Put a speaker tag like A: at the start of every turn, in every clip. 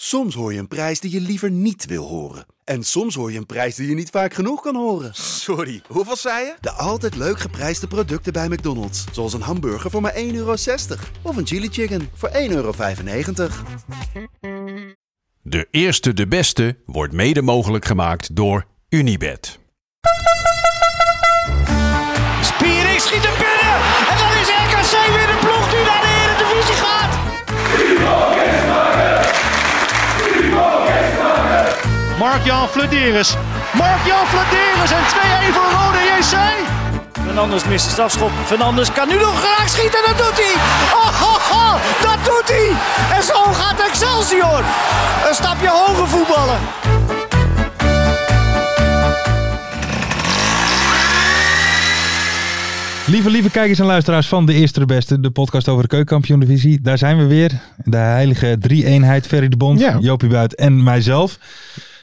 A: Soms hoor je een prijs die je liever niet wil horen. En soms hoor je een prijs die je niet vaak genoeg kan horen.
B: Sorry, hoeveel zei je?
A: De altijd leuk geprijsde producten bij McDonald's. Zoals een hamburger voor maar 1,60 euro. Of een chili chicken voor 1,95 euro.
C: De eerste de beste wordt mede mogelijk gemaakt door Unibed.
D: Spiering schiet er binnen. En dan is RKC weer de ploeg die naar de Eredivisie gaat. Mark-Jan Flederis. Mark-Jan Flederis en 2-1 voor Rode JC. Fernandes mist de strafschop. Fernandes kan nu nog graag schieten. Dat doet hij. Oh, oh, oh, dat doet hij. En zo gaat Excelsior. Een stapje hoger voetballen.
E: Lieve, lieve kijkers en luisteraars van De Eerste de Beste, de podcast over de keukenkampioen-divisie. Daar zijn we weer. De heilige drie-eenheid, Ferry de Bond,
F: Ja.
E: Jopie Buit en mijzelf.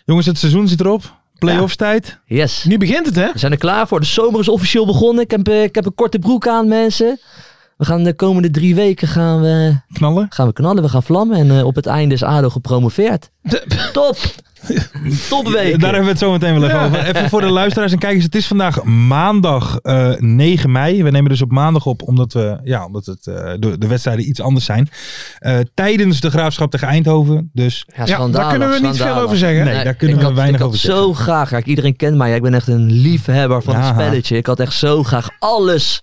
E: Jongens, het seizoen zit erop. Playoffs tijd.
G: Yes.
F: Nu begint het, hè?
G: We zijn er klaar voor. De zomer is officieel begonnen. Ik heb, eh, ik heb een korte broek aan, mensen. We gaan de komende drie weken gaan we,
E: Knallen.
G: gaan we knallen, we gaan vlammen. En eh, op het einde is ADO gepromoveerd. Top! Topweek.
E: Daar hebben we het zo meteen wel even over. Even voor de luisteraars en kijkers. Het is vandaag maandag eh, 9 mei. We nemen dus op maandag op, omdat, we, ja, omdat het, eh, de, de wedstrijden iets anders zijn. Eh, tijdens de graafschap tegen Eindhoven. Dus
G: Ja,
F: Ja,
G: schandalig,
F: daar kunnen we niet
G: schandalig.
F: veel over zeggen.
E: Nee, daar kunnen
G: ik
E: we
G: had-
E: weinig over
G: Ik had zo graag, kijk, iedereen kent mij, ja, ik ben echt een liefhebber van
E: Ja.
G: het spelletje. Ik had echt zo graag alles,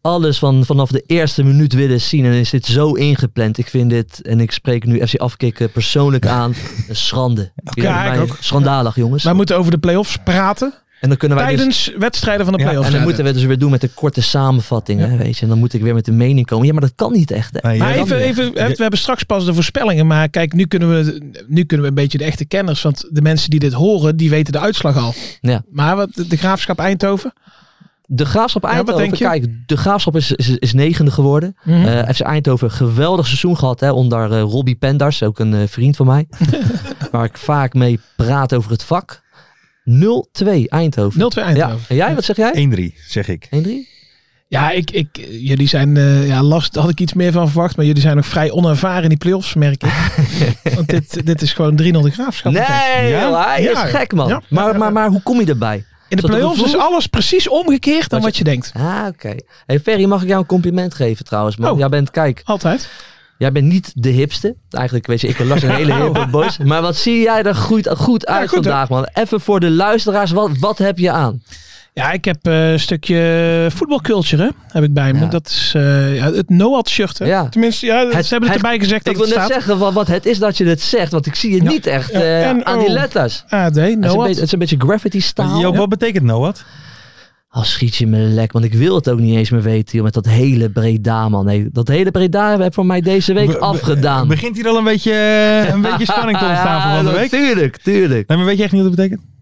G: alles van, vanaf de eerste minuut willen zien. En is dit zo ingepland. Ik vind dit, en ik spreek nu FC Afkikken persoonlijk aan, een schande. Jullie
F: ja,
G: hebben
F: ik
G: mij- Schandalig jongens.
F: Wij moeten over de play-offs praten
G: en dan kunnen wij dus-
F: tijdens wedstrijden van de
E: Ja,
F: play-offs.
G: en dan moeten we dus weer doen met een korte samenvatting, hè, weet je. En dan moet ik weer met een mening komen. Ja, maar dat kan niet echt. Hè.
E: nee,
F: Maar
E: jij
F: even,
E: dan-
F: even, we hebben straks pas de voorspellingen. Maar kijk, nu kunnen, we, nu kunnen we een beetje de echte kenners. Want de mensen die dit horen, die weten de uitslag al.
G: Ja.
F: Maar wat, de Graafschap Eindhoven?
G: De Graafschap
F: wat
G: Eindhoven,
F: denk je? Mhm.
G: kijk, de Graafschap is, is, is negende geworden. Eh, FC Eindhoven, geweldig seizoen gehad hè, onder eh, Robbie Penders, ook een eh, vriend van mij. waar ik vaak mee praat over het vak. 0-2 Eindhoven.
F: 0-2 Eindhoven.
G: Ja. En jij, wat zeg jij?
E: 1-3, zeg ik.
G: 1-3?
F: Ja, ik, ik, jullie zijn, eh, ja, last had ik iets meer van verwacht, maar jullie zijn nog vrij onervaren in die play-offs, merk ik. Want dit, dit is gewoon 3-0 de graafschap.
G: Nee, joh, hij
F: Ja.
G: is gek man.
F: Ja.
G: Maar, maar, maar hoe kom je erbij?
F: In de
G: dat een
F: play-offs is
G: gevoel?
F: alles precies omgekeerd dan
G: Wat je-
F: wat je denkt.
G: Ah, oké. Hey Ferry, mag ik jou een compliment geven trouwens? Man?
F: Oh.
G: Jij bent, kijk,
F: Altijd.
G: jij bent niet de hipste. Eigenlijk, weet je, ik las een hele hippe boys. Maar wat zie jij er goed, goed uit
F: Oh. goed, hè?
G: vandaag, man? Even voor de luisteraars, wat, wat heb je aan?
F: Ja, ik heb eh, een stukje voetbalculture hè, heb ik bij me.
G: Ja.
F: Dat is eh, ja, het Noat shirt. hè.
G: Ja.
F: Tenminste, ja,
G: Het-
F: ze hebben het
G: het-
F: erbij gezegd dat
G: Ik wil
F: het
G: net
F: staat.
G: zeggen wat, wat het is dat je het zegt, want ik zie het niet echt
F: Ja,
G: eh,
F: en
G: aan die
F: oh. Nou
G: letters.
F: AD,
G: Het is, een beetje,
F: Noat.
G: het is een beetje graffiti staal.
E: Joop, wat betekent Noat?
G: Als schiet je me lek, want ik wil het ook niet eens meer weten joh, met dat hele Breda man. Nee, dat hele Breda heb voor mij deze week
E: Be- be-
G: afgedaan.
E: Begint hier al een beetje, eh, een beetje spanning te ontstaan voor van de week?
G: Tuurlijk, tuurlijk.
E: Nee, maar weet je echt niet wat dat betekent?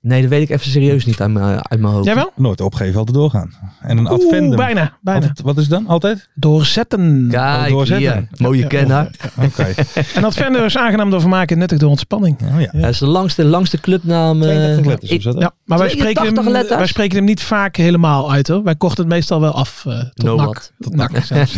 G: Nee, dat weet ik even serieus niet uit mijn, uit mijn hoofd.
F: Jij wel?
E: Nooit opgeven, altijd doorgaan. En een
F: Oeh,
E: advendum.
F: bijna. bijna.
E: Altijd- wat is het dan? Altijd?
F: Oh, Doorzetten.
G: Kijk
E: doorzetten.
G: hier, mooie
F: Ja, oh.
G: kenner.
E: Oké.
F: En dat verder is aangenaam door vermaken, nuttig door ontspanning.
E: Oh, ja.
G: Dat is de langste, langste clubnaam. eh,
E: 32 letters
G: ik-
E: of zo, hè?
F: Ja, maar wij
G: 82
F: spreken, hem,
G: letters?
F: wij spreken hem niet vaak helemaal uit hoor. Wij kochten het meestal wel af eh tot
G: No
F: nak.
G: what.
F: Tot nak zelfs.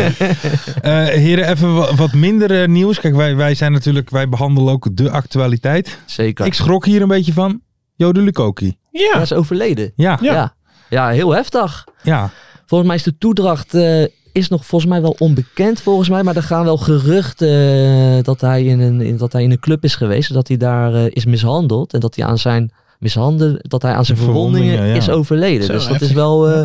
E: Eh, heren, even wa- wat minder eh, nieuws. Kijk, wij, wij zijn natuurlijk, wij behandelen ook de actualiteit.
G: Zeker.
E: Ik schrok hier een beetje van. Jode Lukoki.
G: Hij
F: ja,
G: is overleden.
E: Ja,
F: Ja.
G: ja. Ja, heel heftig.
E: ja.
G: Volgens mij is de toedracht eh, is nog volgens mij wel onbekend, volgens mij. Maar er gaan wel geruchten eh, dat, hij in een, in- dat hij in een club is geweest. Dat hij daar eh, is mishandeld. En dat hij aan zijn mishandelen, dat hij aan zijn verwondingen,
E: Verwondingen, ja.
G: is overleden.
F: Zo
G: dus dat
F: heftig.
G: is wel eh,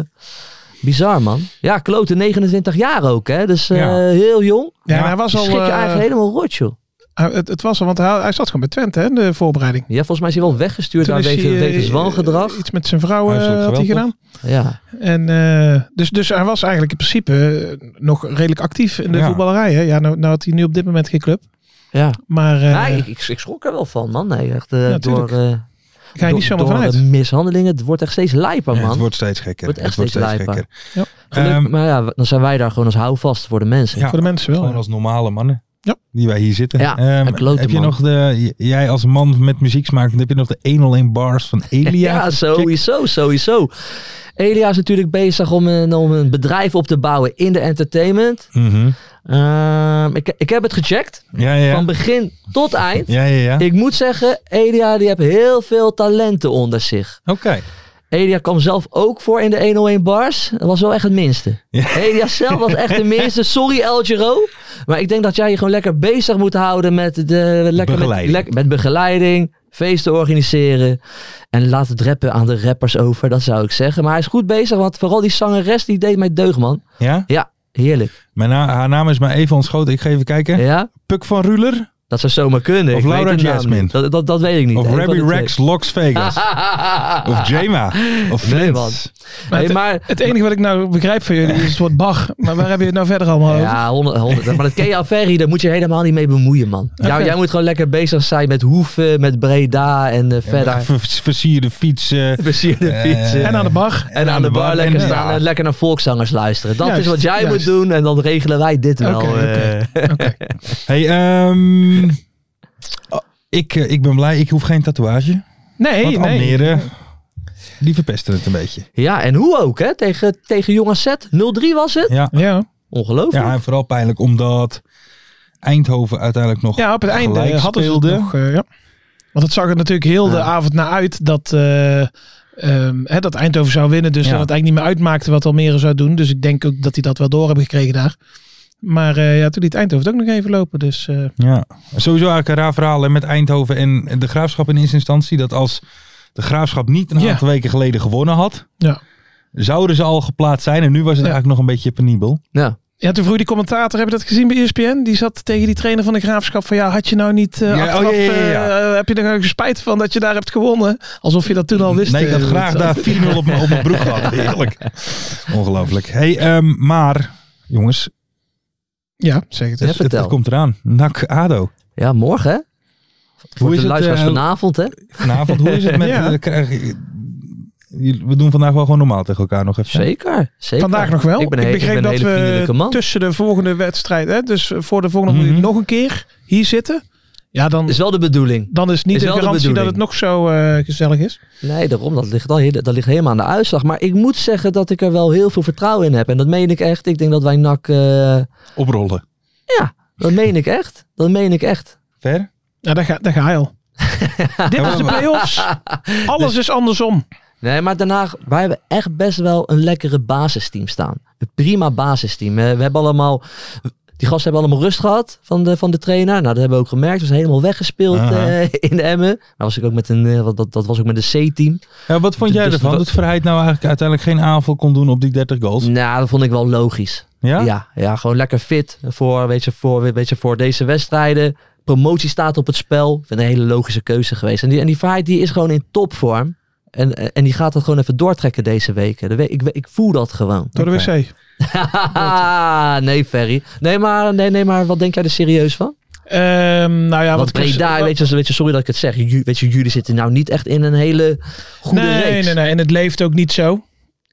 G: bizar, man. Ja, klote 29 jaar ook, hè. Dus eh,
E: Ja.
G: heel jong.
F: ja,
E: Ja,
F: hij was
G: Schrik
F: al.
G: je
F: eh,
G: eigenlijk helemaal rot, joh.
F: hij- het, het was al, want hij, hij zat gewoon bij Twente hè, in de voorbereiding.
G: Ja, volgens mij is hij wel weggestuurd
F: Toen
G: daar
F: is
G: wegen,
F: hij, eh,
G: wegens wangedrag.
F: Iets met zijn vrouw eh,
E: Huiselijk
F: had hij
E: geweld,
F: gedaan.
G: Ja.
F: En, eh, dus, dus hij was eigenlijk in principe eh, nog redelijk actief in de
E: Ja.
F: voetballerij. Hè. Ja, nou, nou had hij nu op dit moment geen club.
G: ja.
F: Maar eh,
G: Nee, ik, ik, ik schrok er wel van, man. Nee, echt, eh,
F: Ja,
G: door,
F: tuurlijk.
G: eh
F: ga je
G: door,
F: niet zomaar
G: door,
F: vanuit.
G: eh, mishandelingen. Het wordt echt steeds lijper,
E: Ja,
G: Oh, man.
E: het wordt steeds gekker.
G: Wordt echt
E: het wordt
G: steeds
E: steeds
G: lijper.
E: gekker.
G: Gelukkig-
E: Ehm,
G: maar ja, dan zijn wij daar gewoon als houvast voor de mensen.
E: Ja.
F: Voor de mensen wel.
E: Gewoon als normale mannen.
F: Oh, Ja.
E: Die wij hier zitten.
G: Ja,
E: Ehm,
G: een klote
E: heb je
G: man.
E: nog de, j- jij als man met muzieksmaak, heb je nog de 101 bars van Elia?
G: Ja, sowieso, sowieso. Elia is natuurlijk bezig om een, om een bedrijf op te bouwen in de entertainment.
E: Mhm.
G: Ehm, ik, ik heb het gecheckt,
E: Ja, ja, ja.
G: van begin tot eind.
E: Ja, ja, ja.
G: Ik moet zeggen, Elia die heeft heel veel talenten onder zich.
E: Oké.
G: Elia kwam zelf ook voor in de 101 bars. Dat was wel echt het minste.
E: Ja.
G: Elia zelf was echt de minste. Sorry El Giro. Maar ik denk dat jij je gewoon lekker bezig moet houden met, de, lekker
E: Begeleiding.
G: Met, lek- met begeleiding. Feesten organiseren. En laat het rappen aan de rappers over. Dat zou ik zeggen. Maar hij is goed bezig. Want vooral die zangeres die deed mij deugd man.
E: Ja?
G: Ja, heerlijk.
E: Mijn na- haar naam is maar even ontschoten. Ik ga even kijken.
G: Ja,
E: Puk van Ruler
G: dat zou zomaar kunnen.
E: Of
G: Ik weet
E: Laura
G: de naam
E: Jasmine.
G: niet. Dat, dat, dat weet ik niet. Eén
E: of
G: van
E: Rabbi
G: de twee.
E: Rex Lox Vegas of Jema of
G: Nee,
E: Flint.
G: man.
F: Maar
G: Hey,
F: het-
G: maar
F: Het enige wat ik nou begrijp van jullie is het woord Bach. Maar waar heb je het nou verder allemaal over?
G: Ja, 100, 100. Maar dat Kea Ferry, daar moet je helemaal niet mee bemoeien, man. Jou, jij moet gewoon lekker bezig zijn met hoeven, met Breda en eh, verder.
E: Ver- Versierde fietsen.
G: Versierde fietsen.
E: Eh,
F: En aan de Bach.
G: en aan de bar, lekker
E: en-
G: staan
E: ja.
G: en lekker naar volkszangers luisteren. Dat
F: Juist,
G: is wat jij
F: juist.
G: moet doen en dan regelen wij dit wel.
F: Oké,
G: eh.
E: Hey, ehm, oh, ik, eh, ik ben blij. Ik hoef geen tatoeage.
F: Nee,
E: want
F: nee.
E: Almere, die verpesten het een beetje.
G: Ja, en hoe ook, hè? Tegen, tegen Jong AZ, 0-3 was het.
E: Ja,
F: Ja.
G: Ongelooflijk.
E: ja en vooral pijnlijk omdat Eindhoven uiteindelijk nog...
F: ja, op het einde
E: Gelijk
F: hadden ze het
E: speelde.
F: nog. eh, ja. Want het zag er natuurlijk heel de
G: Ja.
F: avond naar uit dat, eh, ehm, hè, dat Eindhoven zou winnen. Dus
E: Ja.
F: dat het eigenlijk niet meer uitmaakte wat Almere zou doen. Dus ik denk ook dat die dat wel door hebben gekregen daar. Maar eh, ja, toen liet Eindhoven het ook nog even lopen. Dus eh,
E: Ja. Sowieso eigenlijk een raar verhaal hè, met Eindhoven en de Graafschap in eerste instantie. Dat als de Graafschap niet een
F: Ja.
E: aantal weken geleden gewonnen had...
F: Ja.
E: Zouden ze al geplaatst zijn en nu was het
F: Ja.
E: eigenlijk nog een beetje penibel.
G: Ja.
F: ja, toen vroeg die commentator, heb je dat gezien bij E ESPN? Die zat tegen die trainer van de Graafschap van ja, had je nou niet eh,
E: Ja, oh,
F: achteraf,
E: ja, ja, ja.
F: eh, heb je er nou spijt van dat je daar hebt gewonnen? Alsof je dat toen al wist.
E: Nee, ik had
F: eh,
E: graag
F: dat-
E: daar 4-0 op mijn op mijn broek gehad. Heerlijk. Ongelooflijk. Hey, ehm, maar jongens,
F: Ja, zeg het
G: Ja,
F: eens.
E: het, het
G: vertel.
E: komt eraan. Nak Ado.
G: Ja, morgen, hè? Voor de
E: is het,
G: luisteraars
E: eh,
G: vanavond, hè?
E: Vanavond, hoe is het met...
F: Ja.
E: eh, krijg je- we doen vandaag wel gewoon normaal tegen elkaar nog even.
G: Zeker, zeker.
F: Vandaag nog wel.
G: Ik ben, een- ik
F: begreep
G: ben een hele
F: dat
G: vriendelijke
F: we
G: man.
F: tussen de volgende wedstrijd, hè, dus voor de volgende
E: Mhm.
F: moet nog een keer hier zitten. Ja, dan,
G: Is wel de bedoeling.
F: dan is niet
G: is
F: de
G: wel de
F: garantie dat het
G: bedoeling.
F: nog zo eh, gezellig is.
G: Nee, daarom. Dat ligt, al, heel- dat ligt helemaal aan de uitslag. Maar ik moet zeggen dat ik er wel heel veel vertrouwen in heb. En dat meen ik echt. Ik denk dat wij NAC... eh,
E: Oprollen.
G: dat meen ik echt. Dat meen ik echt.
E: Ver?
F: Ja, daar ga, daar ga je al. Dit is de play-offs.
G: Dus-
F: Alles is andersom.
G: Nee, maar daarna... Wij hebben echt best wel een lekkere basisteam staan. Een prima basisteam. Eh, We hebben allemaal... Die gasten hebben allemaal rust gehad van de, van de trainer. Nou, dat hebben we ook gemerkt. Ze zijn helemaal weggespeeld
E: Aha.
G: eh, in de Emmen. Dat was, ik ook met een, eh, wat- dat, dat was ook met een C-team.
E: Ja, wat vond jij
G: Dus
E: ervan?
G: wat-
E: Dat Verheid nou eigenlijk uiteindelijk geen aanval kon doen op die 30 goals?
G: Nou, dat vond ik wel logisch.
E: Ja?
G: Ja, ja, gewoon lekker fit voor, weet je, voor, weet je, voor deze wedstrijden. Promotie staat op het spel. Ik vind het een hele logische keuze geweest. En die, en die Vaart die is gewoon in topvorm. En, en die gaat dat gewoon even doortrekken deze weken. De we- Ik, ik voel dat gewoon.
F: Door de
E: Oké.
F: wc.
G: nee, Ferry. Nee maar, nee, nee, maar wat denk jij er serieus van?
F: Ehm, nou ja,
G: Want
F: wat Chris-
G: Breda, weet je, weet je, sorry dat ik het zeg. ju- weet je, jullie zitten nou niet echt in een hele goede
F: nee,
G: reeks.
F: nee, nee. En het leeft ook niet zo.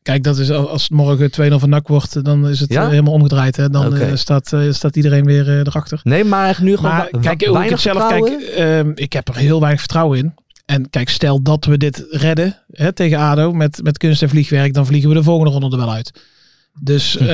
F: Kijk, dat is al- als het morgen 2-0 van NAC wordt, dan is het
G: Ja?
F: eh, helemaal omgedraaid. Hè. Dan
G: Oké.
F: eh, staat, eh, staat iedereen weer eh, erachter.
G: Nee, maar echt nu gewoon
F: Maar
G: wa-
F: kijk, hoe ik
G: weinig
F: het zelf kijk,
G: vertrouwen.
F: ehm, ik heb er heel weinig vertrouwen in. En kijk, stel dat we dit redden hè, tegen ADO met, met kunst en vliegwerk, dan vliegen we de volgende ronde er wel uit. Dus, eh,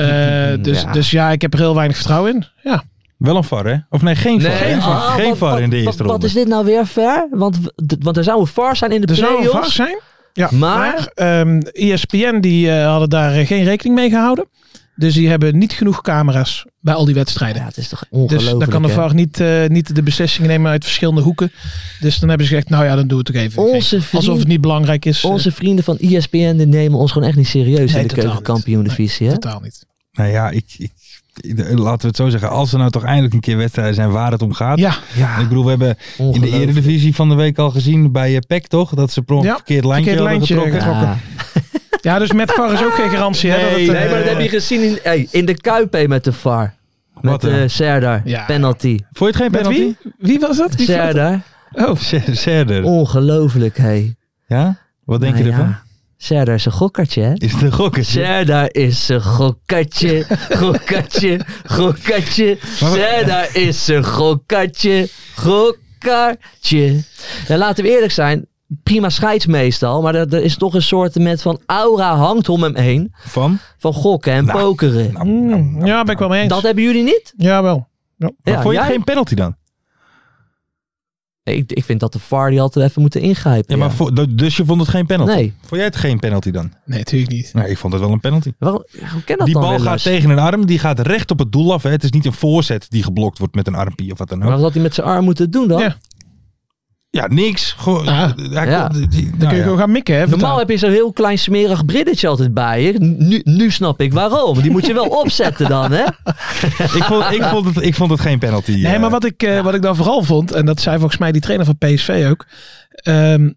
F: dus,
G: Ja.
F: dus ja, ik heb er heel weinig vertrouwen in. Ja,
E: Wel een VAR, hè? Of nee, geen VAR. geen VAR,
G: ah,
E: geen
G: wat-
E: VAR in de
G: wat-
E: eerste
G: wat,
E: ronde.
G: Wat is dit nou weer ver? Want, w- d- want er zou een VAR zijn in de
F: er zou een VAR
G: playoffs.
F: zijn. Ja,
G: Maar-
F: maar ehm ESPN die eh, hadden daar eh, geen rekening mee gehouden. Dus die hebben niet genoeg camera's bij al die wedstrijden.
G: Ja, het is toch
F: Dus
G: ongelooflijk.
F: dan kan de
G: hè?
F: VAR niet, eh, niet de beslissingen nemen uit verschillende hoeken. Dus dan hebben ze gezegd, nou ja, dan doen we het ook even.
G: Onze
F: Alsof het
G: vrienden,
F: niet belangrijk is. eh,
G: onze vrienden van E ESPN die nemen ons gewoon echt niet serieus
F: Nee,
G: in de
F: totaal
G: keukenkampioen
F: niet.
G: divisie. hè?
F: Totaal niet.
E: Nou ja, ik, ik, ik- laten we het zo zeggen. Als er nou toch eindelijk een keer wedstrijden zijn waar het om gaat.
F: Ja,
E: Ik bedoel, we hebben in de
G: Ongelooflijk.
E: Eredivisie van de week al gezien bij eh, PEC, toch? Dat ze per ongeluk
F: Ja,
E: verkeerd lijntje
F: verkeerd
E: hadden
F: lijntje
E: getrokken.
F: getrokken.
G: Ja.
F: ja dus met VAR is ook geen garantie. hè, dat het, eh,
G: Nee, maar dat heb je gezien in, hey, in de Kuip hè, met de VAR. Met
E: Wat, eh?
G: eh Serdar.
F: Ja.
G: Penalty.
E: Vond je het geen
F: Met
E: penalty?
F: wie? Wie was dat? Wie vond
G: Serdar.
E: Oh, Serder.
G: Ongelooflijk, hé.
E: Ja? Wat denk
G: Nou
E: je
G: ja.
E: ervan?
G: Serdar is een gokkertje, hè?
E: Is het een gok? Is het?
G: Serdar is een gokkertje, gokkertje, gokkertje. Serdar is een gokkertje, gokkertje. Nou, laten we eerlijk zijn. Prima scheids meestal, maar er, er is toch een soort met van aura hangt om hem heen.
E: Van?
G: Van gokken en
E: Nou,
G: pokeren.
E: Nou, nou, nou, nou.
F: Hmm. Ja, ben ik wel mee eens.
G: Dat hebben jullie niet?
F: Ja, wel.
E: Maar
G: Ja,
E: vond je het
G: jij?
E: geen penalty dan?
G: Nee, Ik, ik vind dat de VAR die altijd even moeten ingrijpen.
E: Ja, maar vo- du- dus je vond het geen penalty?
G: Nee,
E: Vond jij het geen penalty dan?
F: Nee, natuurlijk niet.
E: Nee, ik vond het wel een penalty.
G: waarom, hoe kan dat
E: Die
G: dan
E: bal
G: weer,
E: gaat
G: Lars?
E: tegen een arm, die gaat recht op het doel af. Hè. Het is niet een voorzet die geblokt wordt met een armpie of wat dan ook.
G: Maar wat had hij met zijn arm moeten doen dan?
F: Ja.
E: Ja, niks. Gewoon,
F: Ja.
E: hij-
G: Ja.
E: die- die- nou
F: Ah, Dan kun je
E: ja.
F: gewoon gaan mikken, hè?
G: Normaal
F: vertaal.
G: heb je zo'n heel klein smerig briddertje altijd bij je. Nu, nu snap ik waarom. Die moet je wel opzetten dan, hè?
E: ik, vond, ik, vond het, ik vond het geen penalty.
F: Nee,
E: eh.
F: maar wat ik, eh, wat ik dan vooral vond, en dat zei volgens mij die trainer van PSV ook. ehm,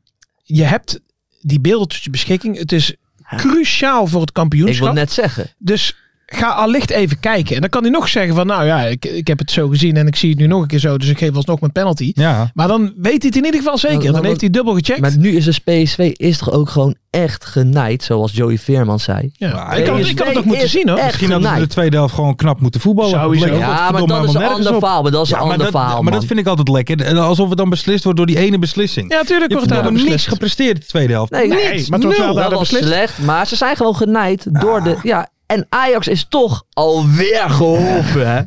F: je hebt die beelden tot je beschikking. Het is cruciaal voor het
G: Ik wil
F: kampioenschap.
G: net zeggen.
F: Dus ga allicht even kijken. En dan kan hij nog zeggen van, nou ja, ik, ik heb het zo gezien en ik zie het nu nog een keer zo. Dus ik geef alsnog mijn penalty.
E: Ja.
F: Maar dan weet hij het in ieder geval
G: Maar-
F: zeker.
G: maar
F: Dan heeft
G: wat-
F: hij dubbel gecheckt.
G: Nou, Maar nu is dus PSV is toch ook gewoon echt genaaid, zoals Joey Veerman zei.
F: ja.
E: Maar
F: ik, kan,
G: PSV
F: ik kan het ook moeten
G: is
F: zien hoor.
G: echt
E: Misschien hadden ze de
G: genaaid.
E: tweede helft gewoon knap moeten voetballen.
F: Sowieso.
E: Leek
G: Ja, maar
E: godverdomme
G: dat is een
E: helemaal nergens
G: ander
E: op.
G: verhaal. Maar dat is een
E: maar
G: ander
E: dat,
G: verhaal,
E: maar
G: man.
E: dat vind ik altijd lekker. En Alsof het dan beslist wordt door die ene beslissing.
F: Ja, tuurlijk
E: je
F: wordt
E: hebt
F: daar dan
E: helemaal niks
F: beslist.
E: gepresteerd de tweede helft.
G: Nee,
F: Nee,
G: niks.
F: maar tot wel
G: Nul.
F: daar
G: Dat was
F: beslist.
G: slecht, maar ze zijn gewoon genaaid door de... Ja, en Ajax is toch alweer geholpen, hè?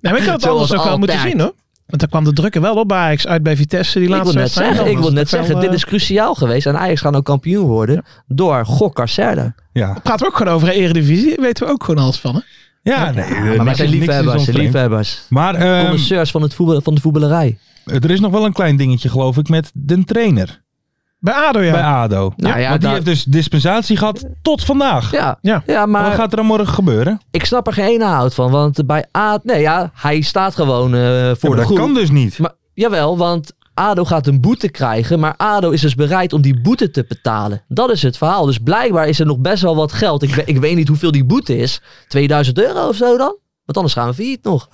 F: Nee, maar ik had het
G: Zoals
F: anders ook wel moeten
G: altijd.
F: zien hoor. Want daar kwam de druk er wel op bij Ajax uit bij Vitesse die
G: Ik wil
F: laatste
G: net
F: wedstrijd.
G: zeggen, ik wil
F: Dan
G: net
F: was het
G: zeggen
F: wel,
G: dit
F: eh,
G: is cruciaal geweest. En Ajax gaan ook kampioen worden door Gokkar Serda.
E: Ja,
F: Praten we ook gewoon over de Eredivisie. Weten we ook gewoon alles van hè.
E: ja nee. eh,
G: Maar wij
E: niks
G: zijn
E: is- niks is
G: liefhebbers,
E: ons vreemd.
G: liefhebbers.
E: Maar ehm,
G: Connoisseurs van, het voetbal, van de voetballerij.
E: er is nog wel een klein dingetje, geloof ik, met de trainer
F: Bij ADO ja.
E: bij ADO.
G: Nou ja,
E: Want die
G: daar-
E: heeft dus dispensatie gehad tot vandaag.
G: Ja,
F: Ja.
G: ja. maar
E: Wat gaat er dan morgen gebeuren?
G: ik snap er geen ene hout van. Want bij A... Nee, ja, hij staat gewoon eh, voor
E: Ja,
G: de
E: maar dat
G: groep.
E: kan dus niet.
G: Maar, jawel, want ADO gaat een boete krijgen. Maar ADO is dus bereid om die boete te betalen. Dat is het verhaal. Dus blijkbaar is er nog best wel wat geld. Ik, we- ik weet niet hoeveel die boete is. 2000 euro of zo dan? Want anders gaan we failliet nog.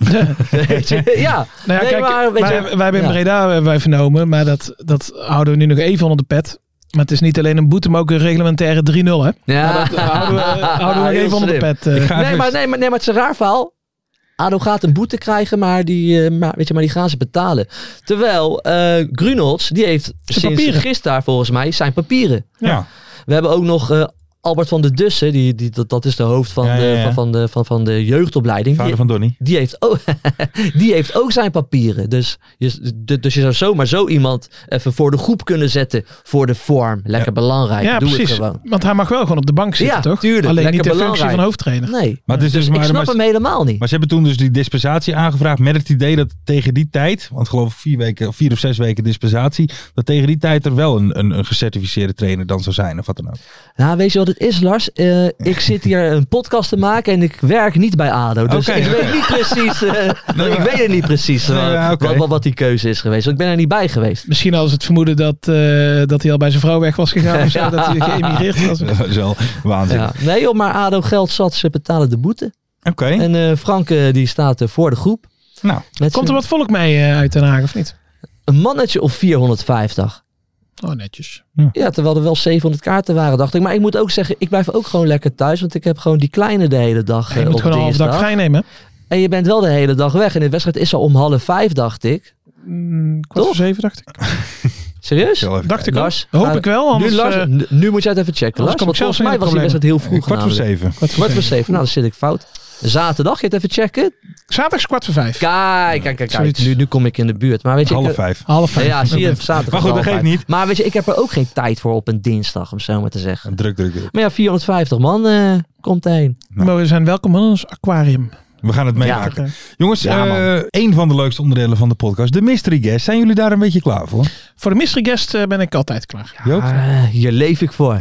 G: Weet je, ja.
F: Nou ja,
G: Nee,
F: kijk,
G: maar, weet
F: wij,
G: je-
F: wij hebben in
G: ja.
F: Breda hebben wij vernomen, maar dat, dat houden we nu nog even onder de pet. Maar het is niet alleen een boete, maar ook een reglementaire 3-0 hè.
G: Ja.
F: Maar dat eh, houden we, houden we nog
G: Heel
F: even onder de
G: slim.
F: pet. eh.
E: Ik ga
G: Nee
E: even-
G: maar, nee, maar, nee, maar het is een raar verhaal. ADO gaat een boete krijgen, maar die, eh, maar, weet je, maar die gaan ze betalen. Terwijl eh Grunholz, die heeft sinds
F: papieren.
G: gisteren volgens mij zijn papieren.
E: Ja.
G: We hebben ook nog eh, Albert van der Dussen, die, die, dat, dat is de hoofd van,
E: Ja,
G: de,
E: ja, ja.
G: Van, van, de, van, van de jeugdopleiding. Die,
E: Vader van Donny.
G: die, heeft ook, die heeft ook zijn papieren. Dus je, d- dus je zou zomaar zo iemand even voor de groep kunnen zetten voor de vorm. Lekker belangrijk,
F: ja,
G: doe
F: precies.
G: het gewoon.
F: Want hij mag wel gewoon op de bank zitten,
G: Ja,
F: toch?
G: tuurlijk.
F: Alleen
G: Lekker
F: niet de functie
G: belangrijk.
F: van hoofdtrainer.
G: Nee,
E: Maar, het is dus
G: ik
E: maar,
G: snap
E: maar,
G: hem helemaal niet.
E: maar ze hebben toen dus die dispensatie aangevraagd met het idee dat tegen die tijd, want geloof ik vier, weken, of vier of zes weken dispensatie, dat tegen die tijd er wel een, een, een gecertificeerde trainer dan zou zijn of wat dan ook.
G: Nou, weet je wat het is, Lars? Eh, ik zit hier een podcast te maken en ik werk niet bij ADO. Dus
E: Oké,
G: ik
E: oké.
G: weet niet precies, eh, ik weet het niet precies
E: Nee,
G: eh,
E: ja, oké.
G: wat, wat, wat die keuze is geweest. Want ik ben er niet bij geweest.
F: Misschien hadden ze het vermoeden dat, eh, dat hij al bij zijn vrouw weg was gegaan. Of zo, dat hij geëmigreerd was.
E: Dat is wel waanzinnig.
G: Ja. Nee joh, maar ADO geld zat, ze betalen de boete.
E: Oké,
F: Hm.
G: En eh Frank eh, die staat eh, voor de groep.
E: nou,
G: Met
F: Komt er
G: zijn-
F: wat volk mee eh, uit Den Haag of niet?
G: Een mannetje of 450.
F: Oh, netjes.
G: Ja, terwijl er wel 700 kaarten waren, dacht ik. Maar ik moet ook zeggen, ik blijf ook gewoon lekker thuis. Want ik heb gewoon die kleine de hele dag
F: Ja, je
G: eh,
F: moet
G: op
F: gewoon een half dag
G: dinsdag.
F: vrij nemen.
G: En je bent wel de hele dag weg. En de wedstrijd is al om half vijf, dacht ik.
F: Mm, kwart
G: Toch?
F: voor zeven, dacht ik.
G: Serieus?
E: ik zal even
F: Dacht ik ook.
G: Lars,
F: Hoop
G: ga-
F: ik wel, anders...
G: nu, Lars,
F: eh,
G: nu- nu moet jij het even checken. Lars,
F: kom ik
G: want
F: zelf
G: volgens mij
F: in de
G: was die wedstrijd heel vroeg.
E: kijken. kwart voor
G: namelijk.
E: zeven.
F: kwart voor
G: Kwart voor
F: zeven.
G: zeven. Nou, dan zit ik fout. Zaterdag, je het even checken.
F: Zaterdag is kwart voor vijf.
G: Kijk, kijk, kijk. kijk.
F: Zoiets.
G: Nu, nu kom ik in de buurt. Maar weet je, ik-
E: Half vijf.
F: Half vijf.
G: ja, zie je, zaterdag.
E: Maar goed, dat
G: half
E: geeft
G: vijf.
E: niet.
G: Maar weet je, ik heb er ook geen tijd voor op een dinsdag, om zo maar te zeggen.
E: Ah, Druk, druk, druk.
G: Maar ja, 450 man eh, komt heen.
F: Maar we zijn welkom in ons aquarium.
E: We gaan het meemaken. Jongens,
G: Ja,
E: eh, een van de leukste onderdelen van de podcast, de mystery guest. Zijn jullie daar een beetje klaar voor?
F: Voor de mystery guest eh, ben ik altijd klaar.
E: Joop?
G: Ah, hier leef ik voor.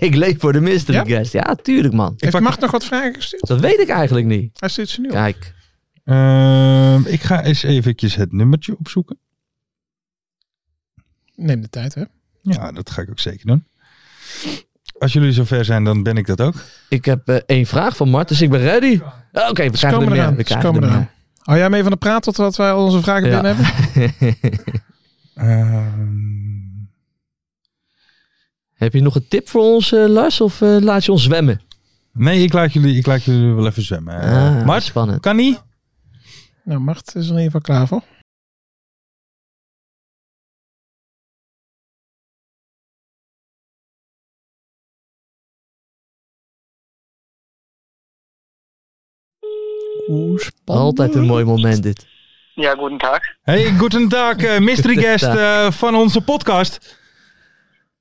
G: ik leef voor de mystery
F: Ja?
G: guest. Ja, tuurlijk man.
F: Heeft
E: pak-
F: Mart nog wat vragen gestuurd?
G: Dat weet ik eigenlijk niet.
F: Hij stuurt ze nu op.
G: Kijk.
E: Ehm, ik ga eens eventjes het nummertje opzoeken.
F: Neem de tijd, hè.
E: Ja, dat ga ik ook zeker doen. Als jullie zover zijn, dan ben ik dat ook.
G: Ik heb eh, één vraag van Mart, dus ik ben ready. Oké, we
F: Ze
G: krijgen er
F: komen
G: meer.
F: eraan.
G: We
F: Ze
G: krijgen
F: komen
G: er
F: eraan. Hou jij mee van de praat totdat wij al onze vragen
G: Ja.
F: binnen hebben?
G: meer.
E: Ehm,
G: Heb je nog een tip voor ons, eh, Lars? Of eh, laat je ons zwemmen?
E: Nee, ik laat jullie, ik laat jullie wel even zwemmen.
G: Ah,
E: Eh, Mart,
G: spannend.
E: kan niet?
F: Nou, Mart is er in ieder geval klaar voor. Oeh, spannend.
G: Altijd een mooi moment dit.
H: Ja, guten Tag.
E: Hey, goedendag, eh, mystery guest eh, van onze podcast.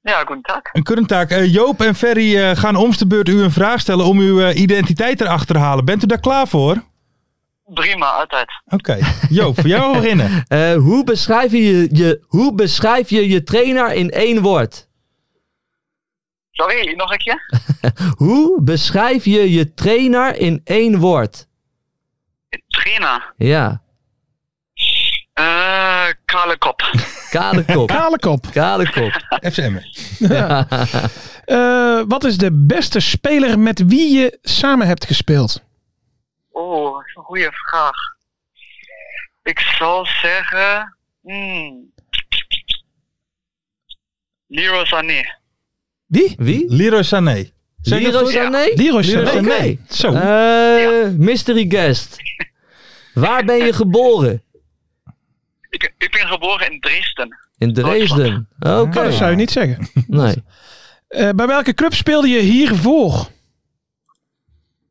H: Ja, guten Tag.
E: Een kurentak. Eh, Joop en Ferry eh, gaan om de beurt u een vraag stellen om uw eh, identiteit erachter te halen. Bent u daar klaar voor?
H: Prima, altijd.
E: Oké. Joop, voor jou beginnen.
G: Eh, hoe, beschrijf je je, hoe beschrijf je je trainer in één woord?
H: Sorry, nog een keer?
G: Hoe beschrijf je je trainer in één woord?
H: Trainer.
G: Ja,
H: Eh, kale kop.
G: kale kop.
F: Kale kop.
G: Kale kop.
E: FCM.
F: Eh, wat is de beste speler met wie je samen hebt gespeeld?
H: Oh, dat is een goede vraag. Ik zal zeggen... Hmm. Leroy Sané.
F: Wie?
G: Wie?
E: Leroy Sané. Zeg je dat
G: Leroy
E: goed?
G: Sané?
F: Leroy
E: Leroy
F: Sané.
G: Sané.
E: Sané. Zo.
G: Eh, Mystery guest. Waar ben je geboren?
H: Ik, ik ben geboren in Dresden.
G: In Dresden. Oké.
F: Oh, dat zou je niet zeggen.
G: Nee.
F: Eh, bij welke club speelde je hiervoor?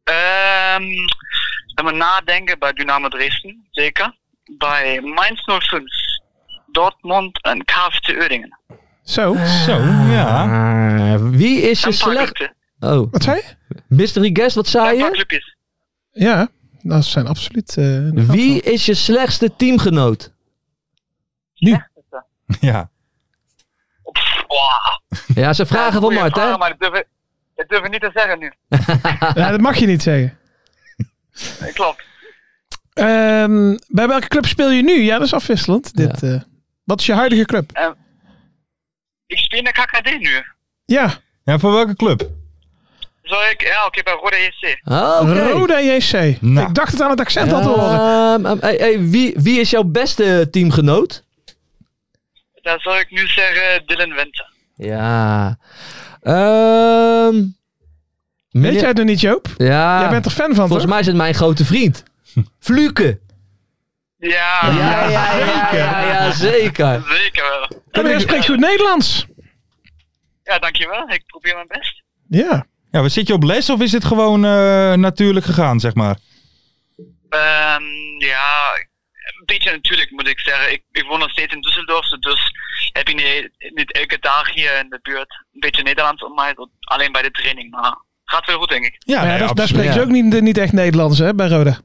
H: Ehm, laat me nadenken bij Dynamo Dresden, zeker. Bij Mainz 05, Dortmund en KFC Uerdingen.
F: Zo.
E: Zo, ja.
G: Ah, wie is je
H: Een paar
G: slecht...
H: clubjes.
G: Oh,
F: Wat zei je?
G: mystery guest, wat zei
H: Een paar
G: je?
H: clubjes.
F: Ja, dat zijn absoluut. eh, inderdaad
G: Wie is je slechtste teamgenoot?
E: ja.
H: Wow.
G: Ja, ze vragen van
H: Goeie
G: Mart, hè?
H: vraag, Maar dat durf, ik, dat durf ik niet te zeggen nu.
F: wel. Ja, dat mag je niet zeggen.
H: Klopt.
F: Ehm, bij welke club speel je nu? Ja, dat is afwisselend. Dit, eh, wat is je huidige club?
H: Ik speel naar KKD nu.
F: Ja,
E: Ja, voor welke club?
H: Zal ik? Ja, oké, bij Rode E JC.
G: Oh, Oké.
F: Roda JC.
E: Nou.
F: Ik dacht het aan het accent al te horen.
G: Ehm, ehm, hey, hey, wie, wie is jouw beste teamgenoot?
H: Dan zal ik nu zeggen eh, Dylan Winter.
G: Ja. Ehm,
F: Weet
G: meneer-
F: jij het nog niet, Joop?
G: Ja.
F: Jij bent er fan van,
G: Volgens
F: toch?
G: mij is het mijn grote vriend. Fluke.
H: Ja,
G: Ja, ja, ja, ja, ja, zeker.
H: zeker wel.
F: En hij spreekt goed Nederlands.
H: Ja, dankjewel. Ik probeer mijn best.
F: Ja.
E: Ja, maar zit je op les of is het gewoon eh, natuurlijk gegaan, zeg maar?
H: Ehm, ja, een beetje natuurlijk moet ik zeggen. Ik, ik woon nog steeds in Düsseldorf, dus heb ik niet, niet elke dag hier in de buurt een beetje Nederlands om mij. tot Alleen bij de training, maar gaat wel goed, denk ik.
E: Ja,
F: Maar ja,
E: nee,
F: daar, daar
E: absoluut.
F: spreken ze ook niet, niet echt Nederlands, hè, bij Roda.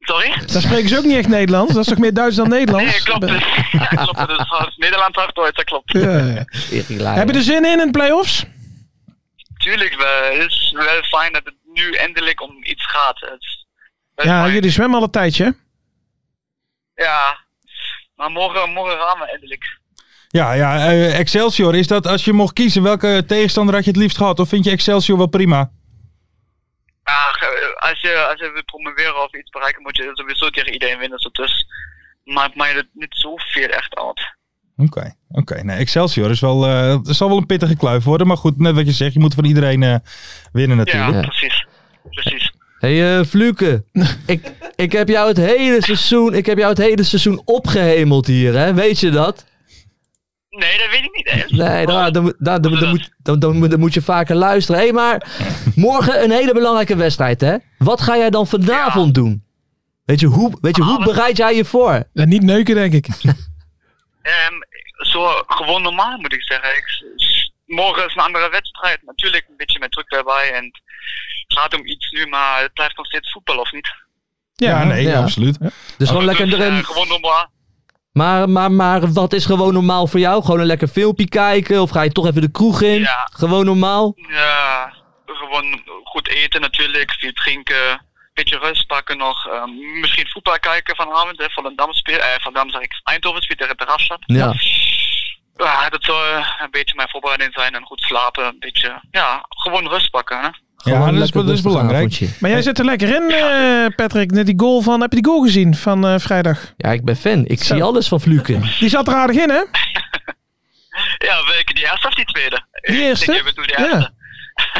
H: Sorry?
F: Daar spreken ze ook niet echt Nederlands. Dat is toch meer Duits dan Nederlands?
H: Nee, klopt. Ja, klopt. Dus als Nederland hard Duits, dat klopt.
F: Ja, ja. Heb je er zin in in de play-offs?
H: Tuurlijk wel. Het is wel fijn dat het nu eindelijk om iets gaat. Het is wel
F: Ja,
H: fijn.
F: jullie zwemmen al een tijdje. hè?
H: Ja. Maar morgen, morgen gaan we eindelijk.
E: Ja, ja eh, Excelsior, is dat als je mocht kiezen welke tegenstander had je het liefst gehad? Of vind je Excelsior wel prima?
H: Ach, eh, als je, als je wil promoveren of iets bereiken, moet je sowieso tegen iedereen winnen. Dus het maakt mij dat niet zoveel echt uit.
E: Oké, oké. Nee, Excelsior is wel, eh, het zal wel een pittige kluif worden. Maar goed, net wat je zegt, je moet van iedereen eh, winnen natuurlijk.
H: Ja,
G: Ja.
H: precies. Precies.
G: Hé, eh, Fluke. ik, ik heb jou het hele seizoen, ik heb jou het hele seizoen opgehemeld hier, hè? Weet je dat?
H: Nee, dat weet ik niet echt.
G: Nee, dan, dan, dan, dan, dan moet, dan, dan, moet- dan moet je vaker luisteren. Hé, maar morgen een hele belangrijke wedstrijd, hè? Wat ga jij dan vanavond doen? Weet je, hoe, weet je, hoe bereid jij je voor? Dus
F: Ja, niet neuken, denk ik.
H: Ehm, zo gewoon normaal moet ik zeggen. Ik, morgen is een andere wedstrijd. Natuurlijk een beetje met druk daarbij. En het gaat om iets nu, maar het blijft nog steeds voetbal, of niet?
E: Ja, nee,
G: ja.
E: absoluut.
G: Dus gewoon lekker
H: Dus, eh,
G: erin.
H: gewoon normaal.
G: Maar, maar, maar wat is gewoon normaal voor jou? Gewoon een lekker filmpje kijken? Of ga je toch even de kroeg in?
H: Ja.
G: Gewoon normaal?
H: Ja, gewoon goed eten natuurlijk, veel drinken, een beetje rust pakken nog. ehm, misschien voetbal kijken vanavond, hè, Volendam speelt, eh, Volendam zeg ik, Eindhoven speelt tegen de Rastad.
G: Ja.
H: Ja, dat zal een beetje mijn voorbereiding zijn en goed slapen, een beetje, ja, gewoon rust pakken. Hè.
E: Ja, dat is,
G: lekker
E: dat is
G: rustig
E: belangrijk.
G: avondje.
F: Maar jij zit er lekker in, eh, Patrick. Net die goal van... Heb je die goal gezien van eh, vrijdag?
G: Ja, ik ben fan. Ik
F: Zo.
G: zie alles van Fluken.
F: Die zat er aardig in, hè?
H: Ja, welke? Die eerste of die tweede?
F: Die eerste?
H: Ik denk, je bedoelt die
F: Ja.
H: eerste.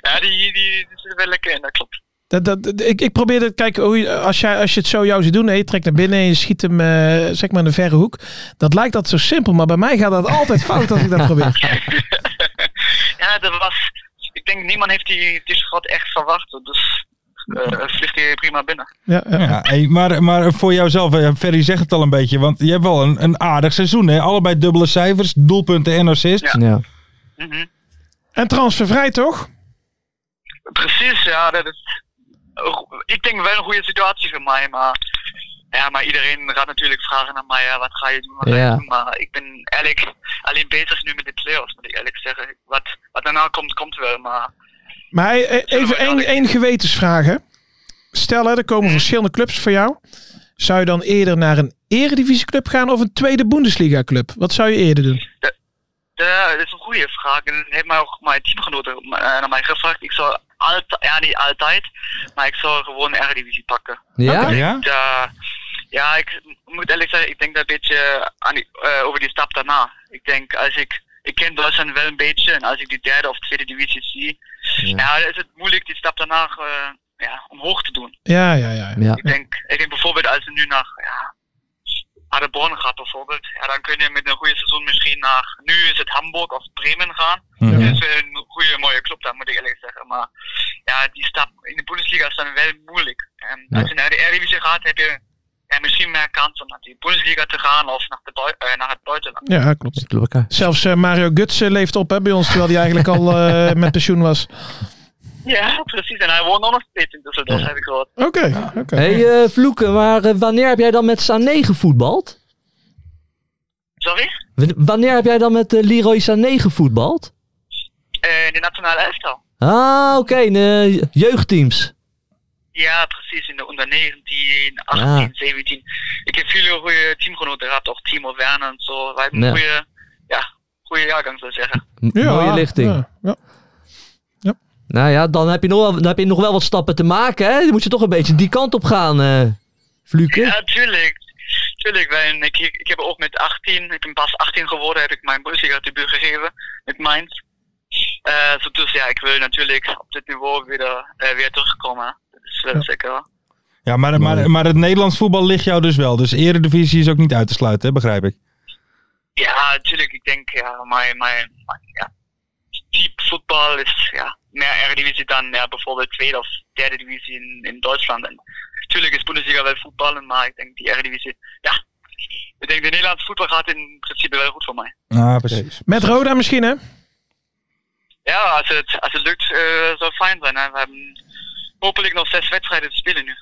H: Ja, die, die, die zitten wel lekker in, dat klopt.
F: Dat, dat, ik, ik probeer het, kijk, hoe je- als, jij, als je het zo jou ziet doen, hè, je trekt naar binnen en je schiet hem eh, zeg maar in de verre hoek. Dat lijkt dat zo simpel, maar bij mij gaat dat altijd fout als ik dat probeer.
H: Ja, dat was... Ik denk, niemand heeft die, die schot echt verwacht. Dus eh vliegt hij prima binnen.
F: Ja, ja.
E: Ja, hey, maar, maar voor jouzelf, eh, Ferry zegt het al een beetje, want je hebt wel een, een aardig seizoen. Hè? Allebei dubbele cijfers, doelpunten en assists.
G: Ja.
H: Mhm.
F: En transfervrij toch?
H: Precies, ja. Dat is, ik denk wel een goede situatie voor mij, maar, ja, maar iedereen gaat natuurlijk vragen naar mij, ja, wat ga je doen, wat ga
G: Ja.
H: je doen. Maar ik ben eigenlijk alleen bezig nu met de play-offs, moet ik eerlijk zeggen. Wat, wat daarna komt, komt wel, maar
F: Maar eh, even één, één gewetensvraag. Hè. Stel, hè, er komen verschillende clubs voor jou. Zou je dan eerder naar een eredivisieclub gaan of een tweede Bundesliga club? Wat zou je eerder doen?
H: Ja, dat is een goede vraag. En dat heeft mij ook mijn teamgenoten eh, naar mij gevraagd. Ik zou altijd, ja niet altijd, maar ik zou gewoon een R-divisie pakken.
G: Ja?
E: Ja?
H: Ja, ja, ik moet eerlijk zeggen, ik denk daar een beetje aan die, eh, over die stap daarna. Ik denk, als ik, ik ken Duitsland wel een beetje en als ik die derde of tweede divisie zie, ja, dan is het moeilijk die stap daarna eh, ja, omhoog te doen.
F: Ja, ja, ja.
G: Ja.
H: Ik denk, ik denk bijvoorbeeld als je nu naar ja, Paderborn gaat bijvoorbeeld, ja, dan kun je met een goede seizoen misschien naar, nu is het Hamburg of Bremen gaan.
E: Mhm.
H: Dat is wel een goede mooie club, dat moet ik eerlijk zeggen. Maar ja, die stap in de Bundesliga is dan wel moeilijk. En als je naar de Eredivisie gaat, heb je ja, misschien meer kans om naar die Bundesliga te gaan of naar, de, bui- eh, naar het buitenland.
F: Ja, klopt.
G: Klopt, ja.
F: Zelfs eh, Mario Götze leeft op hè, bij ons, terwijl hij eigenlijk al eh, met pensioen was.
H: Ja, precies. En hij woont ook nog steeds in Düsseldorf, heb ik gehoord.
F: Oké, oké.
G: Hey, eh, Vloeken, maar eh, wanneer heb jij dan met Sané gevoetbald?
H: Sorry?
G: W- Wanneer heb jij dan met eh, Leroy Sané gevoetbald?
H: Eh, in de nationale elftal.
G: Ah, oké, in, eh, jeugdteams.
H: Ja, precies. In de onder 19, 18,
G: Ja.
H: 17. Ik heb veel goede teamgenoten gehad, ook Timo Werner en zo. Wij hebben
G: Ja.
H: een goede, ja, goede jaargang, zou ik zeggen.
G: M- Mooie lichting.
F: Ja, ja.
G: Nou ja, dan heb, je nog wel, dan heb je nog wel wat stappen te maken, hè? Dan moet je toch een beetje die kant op gaan, eh Vloeken.
H: Ja, tuurlijk. Tuurlijk, want ik, ik heb ook met 18, ik ben pas 18 geworden, heb ik mijn Bundesliga debuut gegeven met Mainz. Eh, zo dus ja, ik wil natuurlijk op dit niveau weer, eh, weer terugkomen. Dat is wel zeker.
E: Ja, maar, maar, maar het Nederlands voetbal ligt jou dus wel. Dus eredivisie is ook niet uit te sluiten, hè, begrijp ik.
H: Ja, natuurlijk, ik denk, ja, mijn, mijn, mijn ja, type voetbal is ja, meer Eredivisie dan ja, bijvoorbeeld tweede of derde divisie in, in Duitsland. En natuurlijk is Bundesliga wel voetballen, maar ik denk die Eredivisie, ja. Ik denk, de Nederlandse voetbal gaat in principe wel goed voor mij.
E: Ah, precies.
F: Met Roda misschien, hè?
H: Ja, also, als het, als het lukt, eh, zou fijn zijn. Hè. We hebben hopelijk nog zes wedstrijden te spelen nu.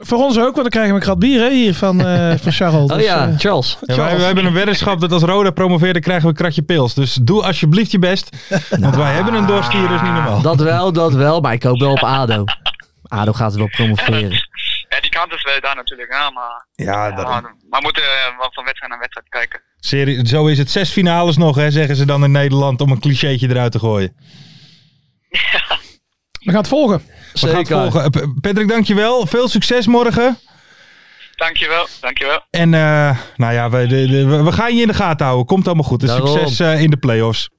F: Voor ons ook, want dan krijgen we een krat bier hè, hier van, eh, van Charles.
G: Oh
F: Dus,
G: ja,
F: eh,
G: Charles.
E: Ja, wij, wij hebben een weddenschap dat als Roda promoveert, dan krijgen we een kratje pils. Dus doe alsjeblieft je best, want wij hebben een dorstier, dus niet normaal.
G: Dat wel, dat wel, maar ik hoop wel op ADO. ADO gaat wel promoveren.
H: Ja, die kans is wel daar natuurlijk, hè, maar,
E: Ja,
H: ja, maar we moeten eh, wel van wedstrijd naar wedstrijd kijken.
E: Serie, zo is het. Zes finales nog, hè, zeggen ze dan in Nederland, om een clichétje eruit te gooien.
F: we gaan het volgen.
E: We gaan het volgen. Eh, P- Patrick, dankjewel. Veel succes morgen.
H: Dankjewel, dankjewel.
E: En eh, nou ja, we, de- de- we- we gaan je in de gaten houden. Komt allemaal goed. En
G: Daarom.
E: succes eh, in de playoffs.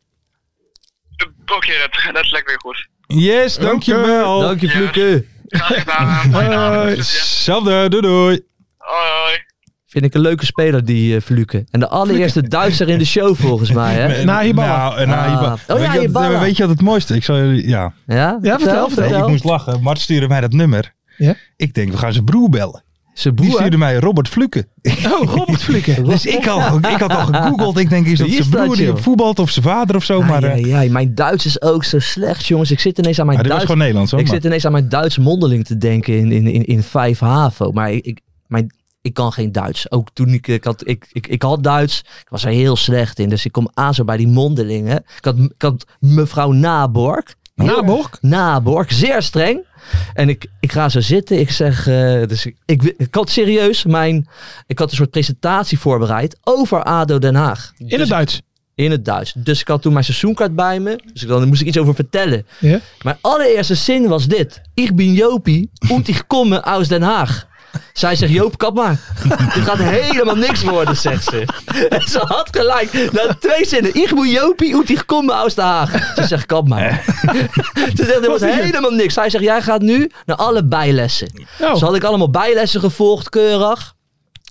H: Oké, dat, dat lijkt weer goed.
E: Yes, dankjewel.
G: Dank je, Vloeken.
H: Graag gedaan. Fijne avond.
F: Hoi.
H: Succes.
E: Hetzelfde. Doei doei.
H: Hoi, hoi.
G: Vind ik een leuke speler, die eh Vloeken. En de allereerste Duitser in de show, volgens mij, hè?
F: Nahibala.
E: Nou, eh, Nahibala.
G: Ah. Oh ja,
E: weet, je wat,
G: Hibala.
E: weet je wat het mooiste? Ik zal jullie, ja.
G: Ja,
F: Ja, vertel,
E: Nee, ik moest lachen. Mart stuurde mij dat nummer.
F: Ja?
E: Ik denk, we gaan zijn broer bellen.
G: Zijn
E: Die
G: broer.
E: stuurde mij Robert Fluken.
F: Oh, Robert Flikken.
E: Dus ik, al, ik had al gegoogeld. Ik denk, is dat
G: Wie
E: zijn
G: is dat,
E: broer die
G: joh?
E: voetbalt of zijn vader of zo? maar
G: ja,
E: eh,
G: ja, mijn Duits is ook zo slecht, jongens. Ik zit ineens aan mijn
E: maar dit was
G: Duits...
E: gewoon Nederlands hoor.
G: Ik
E: maar-
G: zit ineens aan mijn Duits mondeling te denken in, in, in, in vijf HAVO. Maar ik, ik, mijn, ik kan geen Duits. Ook toen ik, ik had, ik, ik, ik had Duits, ik was er heel slecht in. Dus ik kom aan zo bij die mondelingen. Ik had, ik had mevrouw Naborg.
F: Naborg?
G: Naborg, zeer streng. En ik, ik ga zo zitten. Ik zeg, eh, dus ik, ik, ik had serieus mijn, ik had een soort presentatie voorbereid over ADO Den Haag.
F: In het Duits.
G: In het Duits. Dus ik had toen mijn seizoenkaart bij me. Dus ik, dan moest ik iets over vertellen.
F: Ja.
G: Mijn allereerste zin was dit. Ik ben Jopie und ik komme uit Den Haag. Zij zegt, Joop, kap maar. Dit gaat helemaal niks worden, zegt ze. En ze had gelijk. Na twee zinnen. Ik moet Jopie uit die gekomen uit de Haag. Ze zegt, kap maar. ze zegt, dit wordt helemaal niks. Zij zegt, jij gaat nu naar alle bijlessen.
F: Oh.
G: Dus had ik allemaal bijlessen gevolgd, keurig.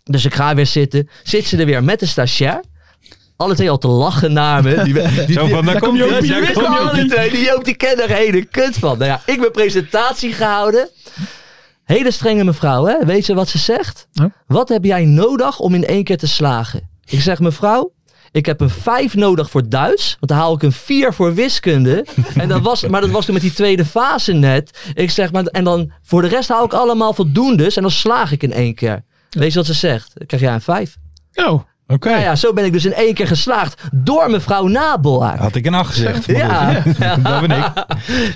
G: Dus ik ga weer zitten. Zit ze er weer met de stagiair. Alle twee al te lachen naar me. Die, die, die,
E: Zo van, daar komt
G: ja,
E: Jopie,
G: die
E: daar
G: wisten
E: komt
G: alle
E: Jopie.
G: twee. Die Joop die kent er hele kut van. Nou ja, ik ben presentatie gehouden. Hele strenge mevrouw, hè? Weet ze wat ze zegt?
F: Ja.
G: Wat heb jij nodig om in één keer te slagen? Ik zeg, mevrouw, ik heb een 5 nodig voor Duits. Want dan haal ik een 4 voor wiskunde. En dat was, maar dat was toen met die tweede fase net. Ik zeg, maar, en dan voor de rest haal ik allemaal voldoendes. En dan slaag ik in één keer. Weet je wat ze zegt? Dan krijg jij een 5.
F: Oh,
E: Oké.
G: Nou ja, zo ben ik dus in één keer geslaagd door mevrouw Nabelaar.
E: Had ik een acht gezegd. maar goed.
G: Ja,
E: Dat ben ik.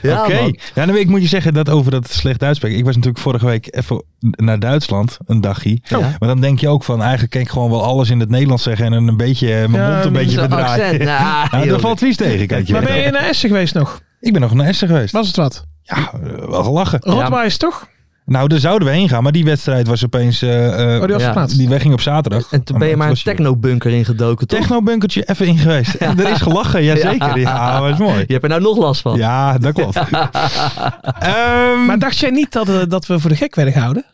G: ja
E: Oké.
G: man.
E: Ja, nou, ik moet je zeggen dat over dat slecht Duits spreken. Ik was natuurlijk vorige week even naar Duitsland, een dagje.
G: Oh.
E: Maar dan denk je ook van, eigenlijk kan ik gewoon wel alles in het Nederlands zeggen en een beetje eh, mijn
F: Ja,
E: mond een
F: met
E: beetje
G: Zo'n accent.
E: verdraaien.
G: Nah,
E: Nou,
G: joh.
E: daar valt vies tegen, kijk je.
F: maar ben
E: wel.
F: je naar Essen geweest nog?
E: Ik ben nog naar Essen geweest.
F: Was het wat?
E: Ja, eh, wel gelachen.
F: Rotwijs toch?
E: Nou, daar zouden we heen gaan, maar die wedstrijd was opeens... eh, eh,
F: Oh, die was
G: Ja.
F: verplaatst.
E: die wegging op zaterdag. Oh,
G: En toen ben Oh, je maar een technobunker ingedoken, toch?
E: Technobunkertje even in geweest. En er is gelachen, jazeker. Ja, dat is mooi.
G: Je hebt er nou nog last van.
E: Ja, dat klopt. Ehm,
F: Maar dacht jij niet dat, eh, dat we voor de gek werden gehouden?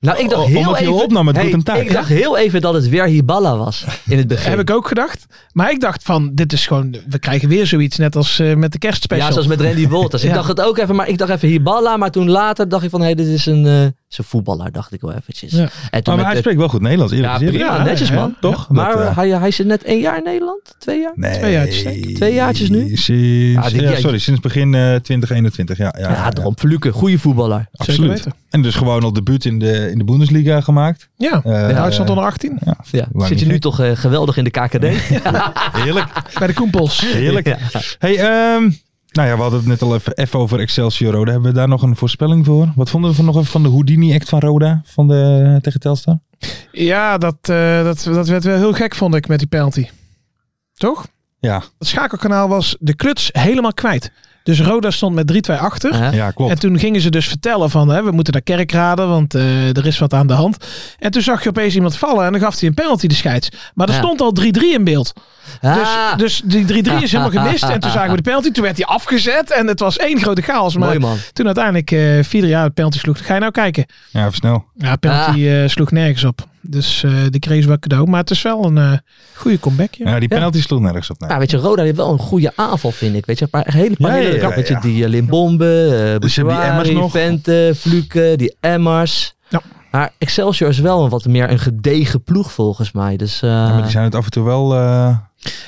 G: Nou, ik dacht
E: Oh,
G: heel
E: omdat je
G: even...
E: opnam met
G: Hey,
E: Guten Tag,
G: Ik
E: hè?
G: dacht heel even dat het weer Hiballa was in het begin.
F: Heb ik ook gedacht. Maar ik dacht van, dit is gewoon, we krijgen weer zoiets. Net als eh, met de kerstspecial.
G: ja, zoals met Randy Wolters.
F: Ja.
G: Ik dacht het ook even, maar ik dacht even Hiballa. Maar toen later dacht ik van, hé, dit is een, eh, is een voetballer, dacht ik wel eventjes.
F: Ja.
G: En
E: maar
G: met
E: hij
G: de-
E: spreekt wel goed Nederlands. eerlijk
G: ja,
E: gezegd.
G: prima,
F: Ja,
G: netjes
F: ja,
G: man.
F: ja.
E: Toch?
G: Maar
E: Dat, eh,
G: eh, hij, hij zit net één jaar in Nederland? Twee jaar?
E: Nee.
F: Twee jaartjes, denk ik.
G: Twee jaartjes nu?
E: Sinds,
G: Ah, dit
E: ja,
G: jaar-
E: sorry, sinds begin eh 2021. Ja, ja,
G: Ja, daarom. Fluke, goede voetballer.
F: Zeker
E: absoluut.
F: weten.
E: En dus gewoon al debuut in de, in de Bundesliga gemaakt.
F: Ja,
E: Eh,
F: Duitsland onder 18.
G: Ja.
E: Lang
G: Zit je
E: niet
G: nu
E: gek.
G: toch eh, geweldig in de KKD?
E: Heerlijk,
F: Bij de Koempels.
E: heerlijk.
G: Ja.
E: Hey, ehm, nou ja, we hadden het net al even, even over Excelsior Roda. Hebben we daar nog een voorspelling voor? Wat vonden we van, nog even van de Houdini-act van Roda van de, tegen Telstar?
F: Ja, dat, eh, dat, dat werd wel heel gek, vond ik, met die penalty. Toch?
E: Ja,
F: Het schakelkanaal was de kluts helemaal kwijt. Dus Roda stond met 3-2 achter.
G: Hè?
E: ja klopt.
F: En toen gingen ze dus vertellen van hè, we moeten naar kerkraden, want eh, er is wat aan de hand. En toen zag je opeens iemand vallen en dan gaf hij een penalty de scheids. Maar er
G: Ja.
F: stond al 3-3 in beeld.
G: Ah,
F: Dus, dus die 3-3 is helemaal gemist. En toen zagen we de penalty, toen werd hij afgezet en het was één grote chaos. Maar
G: mooi man.
F: toen uiteindelijk eh vier jaar de penalty sloeg, ga je nou kijken.
E: Ja, even snel.
F: Ja, penalty
G: Ah.
F: eh, sloeg nergens op. Dus eh die kreeg ze wel cadeau. Maar het is wel een eh, goede comeback. Ja.
E: Ja, die penalty sloeg nergens op. Nee.
G: Ja, weet je, Roda heeft wel een goede aanval, vind ik. Weet je, maar een hele paar
E: Ja,
G: hele
E: ja, ja,
G: kant. Weet je,
E: ja.
G: die eh, Limbombe, eh
E: Dus je hebt die
G: Bouchouari,
E: Emmers nog.
G: Vente, Fluke, die Emmers.
F: Ja.
G: Maar Excelsior is wel een wat meer een gedegen ploeg volgens mij. Dus eh,
E: Ja, maar die zijn het af en toe wel... eh,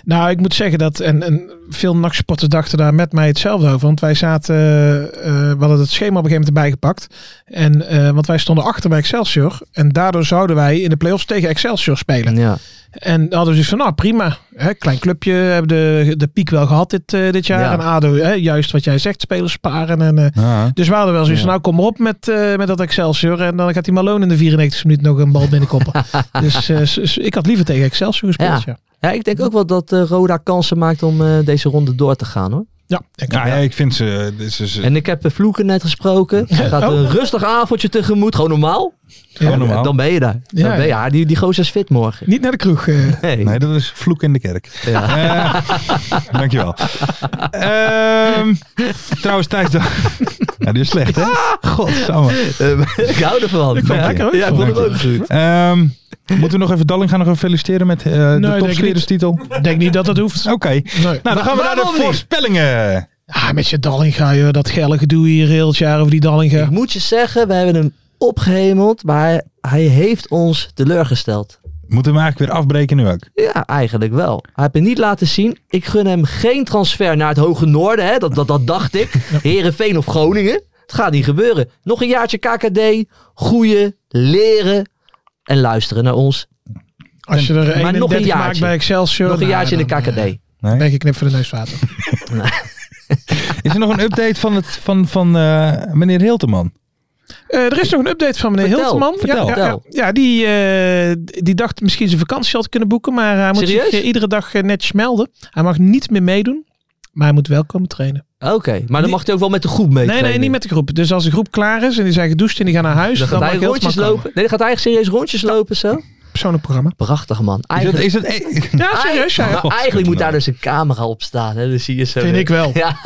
F: Nou, ik moet zeggen dat en, en veel nachtsporters dachten daar met mij hetzelfde over. Want wij zaten, eh, eh, we hadden het schema op een gegeven moment erbij gepakt. En, eh, want wij stonden achter bij Excelsior. En daardoor zouden wij in de play-offs tegen Excelsior spelen.
G: ja.
F: En dan hadden we dus van, nou prima. Hè, klein clubje, hebben de, de piek wel gehad dit, eh, dit jaar.
G: Ja.
F: En ADO, hè, juist wat jij zegt, spelers sparen. En, eh,
E: ja.
F: dus we hadden wel zoiets van, nou kom maar op met, eh, met dat Excelsior. En dan gaat die Malone in de 94 minuut nog een bal binnenkoppen. dus eh, s- s- ik had liever tegen Excelsior gespeeld, ja.
G: ja, ik denk ook wel dat eh, Roda kansen maakt om eh, deze ronde door te gaan hoor.
F: Ja, denk ik
E: Ja, ja, ik vind ze... dit is is-
G: En ik heb eh, Fluke net gesproken. Ze gaat een rustig avondje tegemoet, gewoon normaal.
E: gewoon Oh. normaal.
G: En Dan ben je daar. Dan
F: Ja,
G: ben je, ja, die, die gozer is fit morgen.
F: Niet naar de kroeg. eh.
G: Nee.
E: Nee, dat is vloek in de kerk.
G: Ja.
E: Eh, dankjewel. Ehm, trouwens, Thijs... da- Ja, die is slecht, hè? Godsamme.
G: Eh, ik hou ervan.
E: vond
G: Ja,
E: ik
G: ja,
E: ook.
G: ik vond het ook goed.
E: Ehm, moeten we nog even Dalling gaan nog even feliciteren met eh
F: denk
E: de
F: ik
E: topsleerderstitel? Oké.
F: Ik denk niet dat dat hoeft. Nee.
E: Nou, dan gaan we naar de
G: waarom niet?
E: voorspellingen.
F: Ah, met je Dallinga, joh, dat geile gedoe hier heel het jaar over die Dallinga.
G: Ik moet je zeggen, we hebben hem opgehemeld, maar hij heeft ons teleurgesteld.
E: Moeten we hem eigenlijk weer afbreken nu ook?
G: Ja, eigenlijk wel. Hij heeft het niet laten zien. Ik gun hem geen transfer naar het Hoge Noorden. Hè? Dat, dat, dat dacht ik. Herenveen of Groningen. Het gaat niet gebeuren. Nog een jaartje KKD. Groeien, leren en luisteren naar ons.
F: Als je er
G: Maar nog een
F: 31 maakt
G: jaartje.
F: bij Excelsior.
G: Nog een
F: nou,
G: jaartje in de
F: dan, eh,
G: KKD.
E: Nee?
F: Ben ik een knip voor de neus water.
E: Is er nog een update van, het, van, van eh, meneer Hilteman?
F: Eh, er is nog een update van meneer
G: Vertel,
F: Hilteman.
G: vertel.
F: ja, ja, ja, Ja, die, eh, die dacht misschien zijn vakantie al te kunnen boeken. Maar hij moet
G: Serieus?
F: zich eh, iedere dag eh, netjes melden. Hij mag niet meer meedoen. Maar hij moet wel komen trainen.
G: Oké, maar dan
F: Niet-
G: mag hij ook wel met de groep mee.
F: Nee, nee, niet met de groep. Dus als de groep klaar is en die zijn gedoucht en die gaan naar huis,
G: Dan
F: dan,
G: gaat
F: mag
G: hij
F: je
G: rondjes lopen. Nee, dan gaat hij echt serieus rondjes lopen zo.
F: Persoonlijk programma.
G: Prachtig man.
E: Is dat,
G: Eigenlijk,
E: is dat, eh,
F: Ja, serieus. Ja.
G: Maar
E: God,
G: eigenlijk moet
E: nou.
G: daar dus een camera op staan. Hè? Dus zie je zo
F: Vind ik wel.
G: Ja.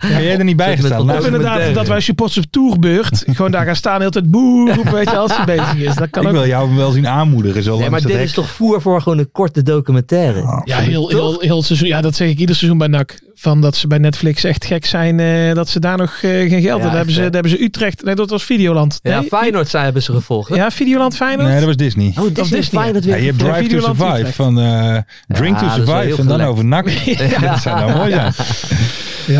E: ben jij er niet bij
G: Met
E: gestaan?
G: wat
E: Nou,
F: Of
G: met
F: inderdaad,
G: deuren.
F: dat wij supporters op tourbeurt gewoon daar gaan staan, heel tijd boe roepen, weet je, als hij bezig is. Dat kan
E: ik
F: ook.
E: wil jou wel zien aanmoedigen. Zo
G: Nee, maar
E: langs
G: dit
E: dat
G: is
E: hek.
G: toch voer voor gewoon een korte documentaire.
F: Ja, heel, heel, heel het seizoen. Ja, dat zeg ik ieder seizoen bij NAC. Van dat ze bij Netflix echt gek zijn eh, dat ze daar nog eh, geen geld
G: Ja,
F: hebben. Daar hebben,
G: echt,
F: ze,
G: hè.
F: daar hebben ze Utrecht. Nee, dat was Videoland. Nee?
G: Ja, Feyenoord zijn hebben ze gevolgd. hè?
F: Ja, Videoland Feyenoord.
E: Nee, dat was Disney.
G: Oh, Disney,
F: Of Disney.
G: Feyenoord
E: Ja,
G: weer.
E: je hebt
F: Ja,
E: Drive to
F: Videoland
E: Survive
F: Utrecht.
E: van eh, Drink
G: Ja,
E: to
G: dat is wel
E: Survive
G: heel
E: en dan
G: gelijk.
E: over NAC. Ja, dat zou nou mooi zijn. Ehm,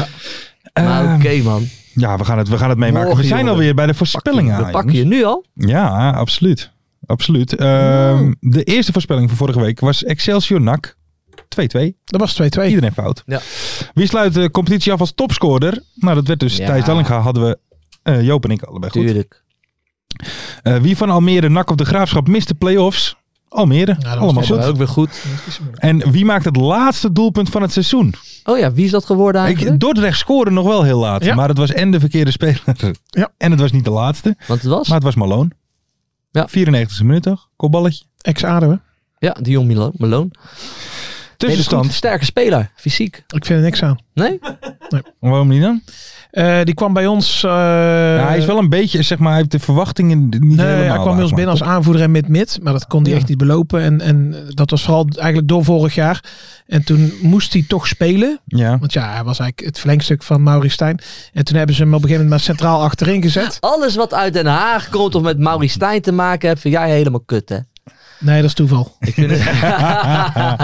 G: Maar
F: Ah,
G: oké man,
E: Ja, we gaan het, we gaan het meemaken.
G: Morgen,
E: we zijn
G: jongen.
E: alweer bij de
G: we
E: voorspellingen. aan,
G: pakken je nu al.
E: jongens. Ja, absoluut. absoluut. Ehm, De eerste voorspelling van vorige week was Excelsior NAC 2-2.
F: Dat was 2-2.
E: Iedereen fout.
G: Ja.
E: Wie sluit de competitie af als topscorer? Nou, dat werd dus
G: Ja.
E: Thijs Dallinga hadden we eh, Joop en ik allebei goed.
G: Tuurlijk.
E: Eh, wie van Almere, NAC of de Graafschap mist de play-offs? Almere,
F: was
E: allemaal
F: niet zo
E: goed.
G: Maar ook weer goed.
E: En wie maakt het laatste doelpunt van het seizoen?
G: Oh ja, wie is dat geworden eigenlijk?
E: Ik, Dordrecht scoorde nog wel heel laat,
F: Ja.
E: maar het was en de verkeerde speler.
F: Ja.
E: En het was niet de laatste,
G: Want het was?
E: maar het was Malone.
G: Ja.
E: 94e minuut toch? Kopballetje.
F: Ex-Ado, hè?
G: Ja, Dion Milo- Malone.
E: Tussenstand.
G: Hele goed, Sterke speler, fysiek.
F: Ik vind er niks aan.
G: Nee?
E: Waarom niet dan?
F: Eh, die kwam bij ons... eh,
E: Ja, hij is wel een beetje, zeg maar, hij heeft de verwachtingen niet helemaal.
F: Nee, hij kwam bij ons
E: waargemaakt,
F: binnen als aanvoerder en mid-mid. Maar dat kon hij
E: Ja.
F: echt niet belopen. En, en dat was vooral eigenlijk door vorig jaar. En toen moest hij toch spelen.
E: toch? Ja.
F: Want ja, hij was eigenlijk het verlengstuk van Maurice Stijn. En toen hebben ze hem op een gegeven moment maar centraal achterin gezet.
G: Alles wat uit Den Haag komt of met Mauri Stijn te maken heeft, vind jij helemaal kut hè?
F: Nee, dat is toeval.
G: Ik vind het...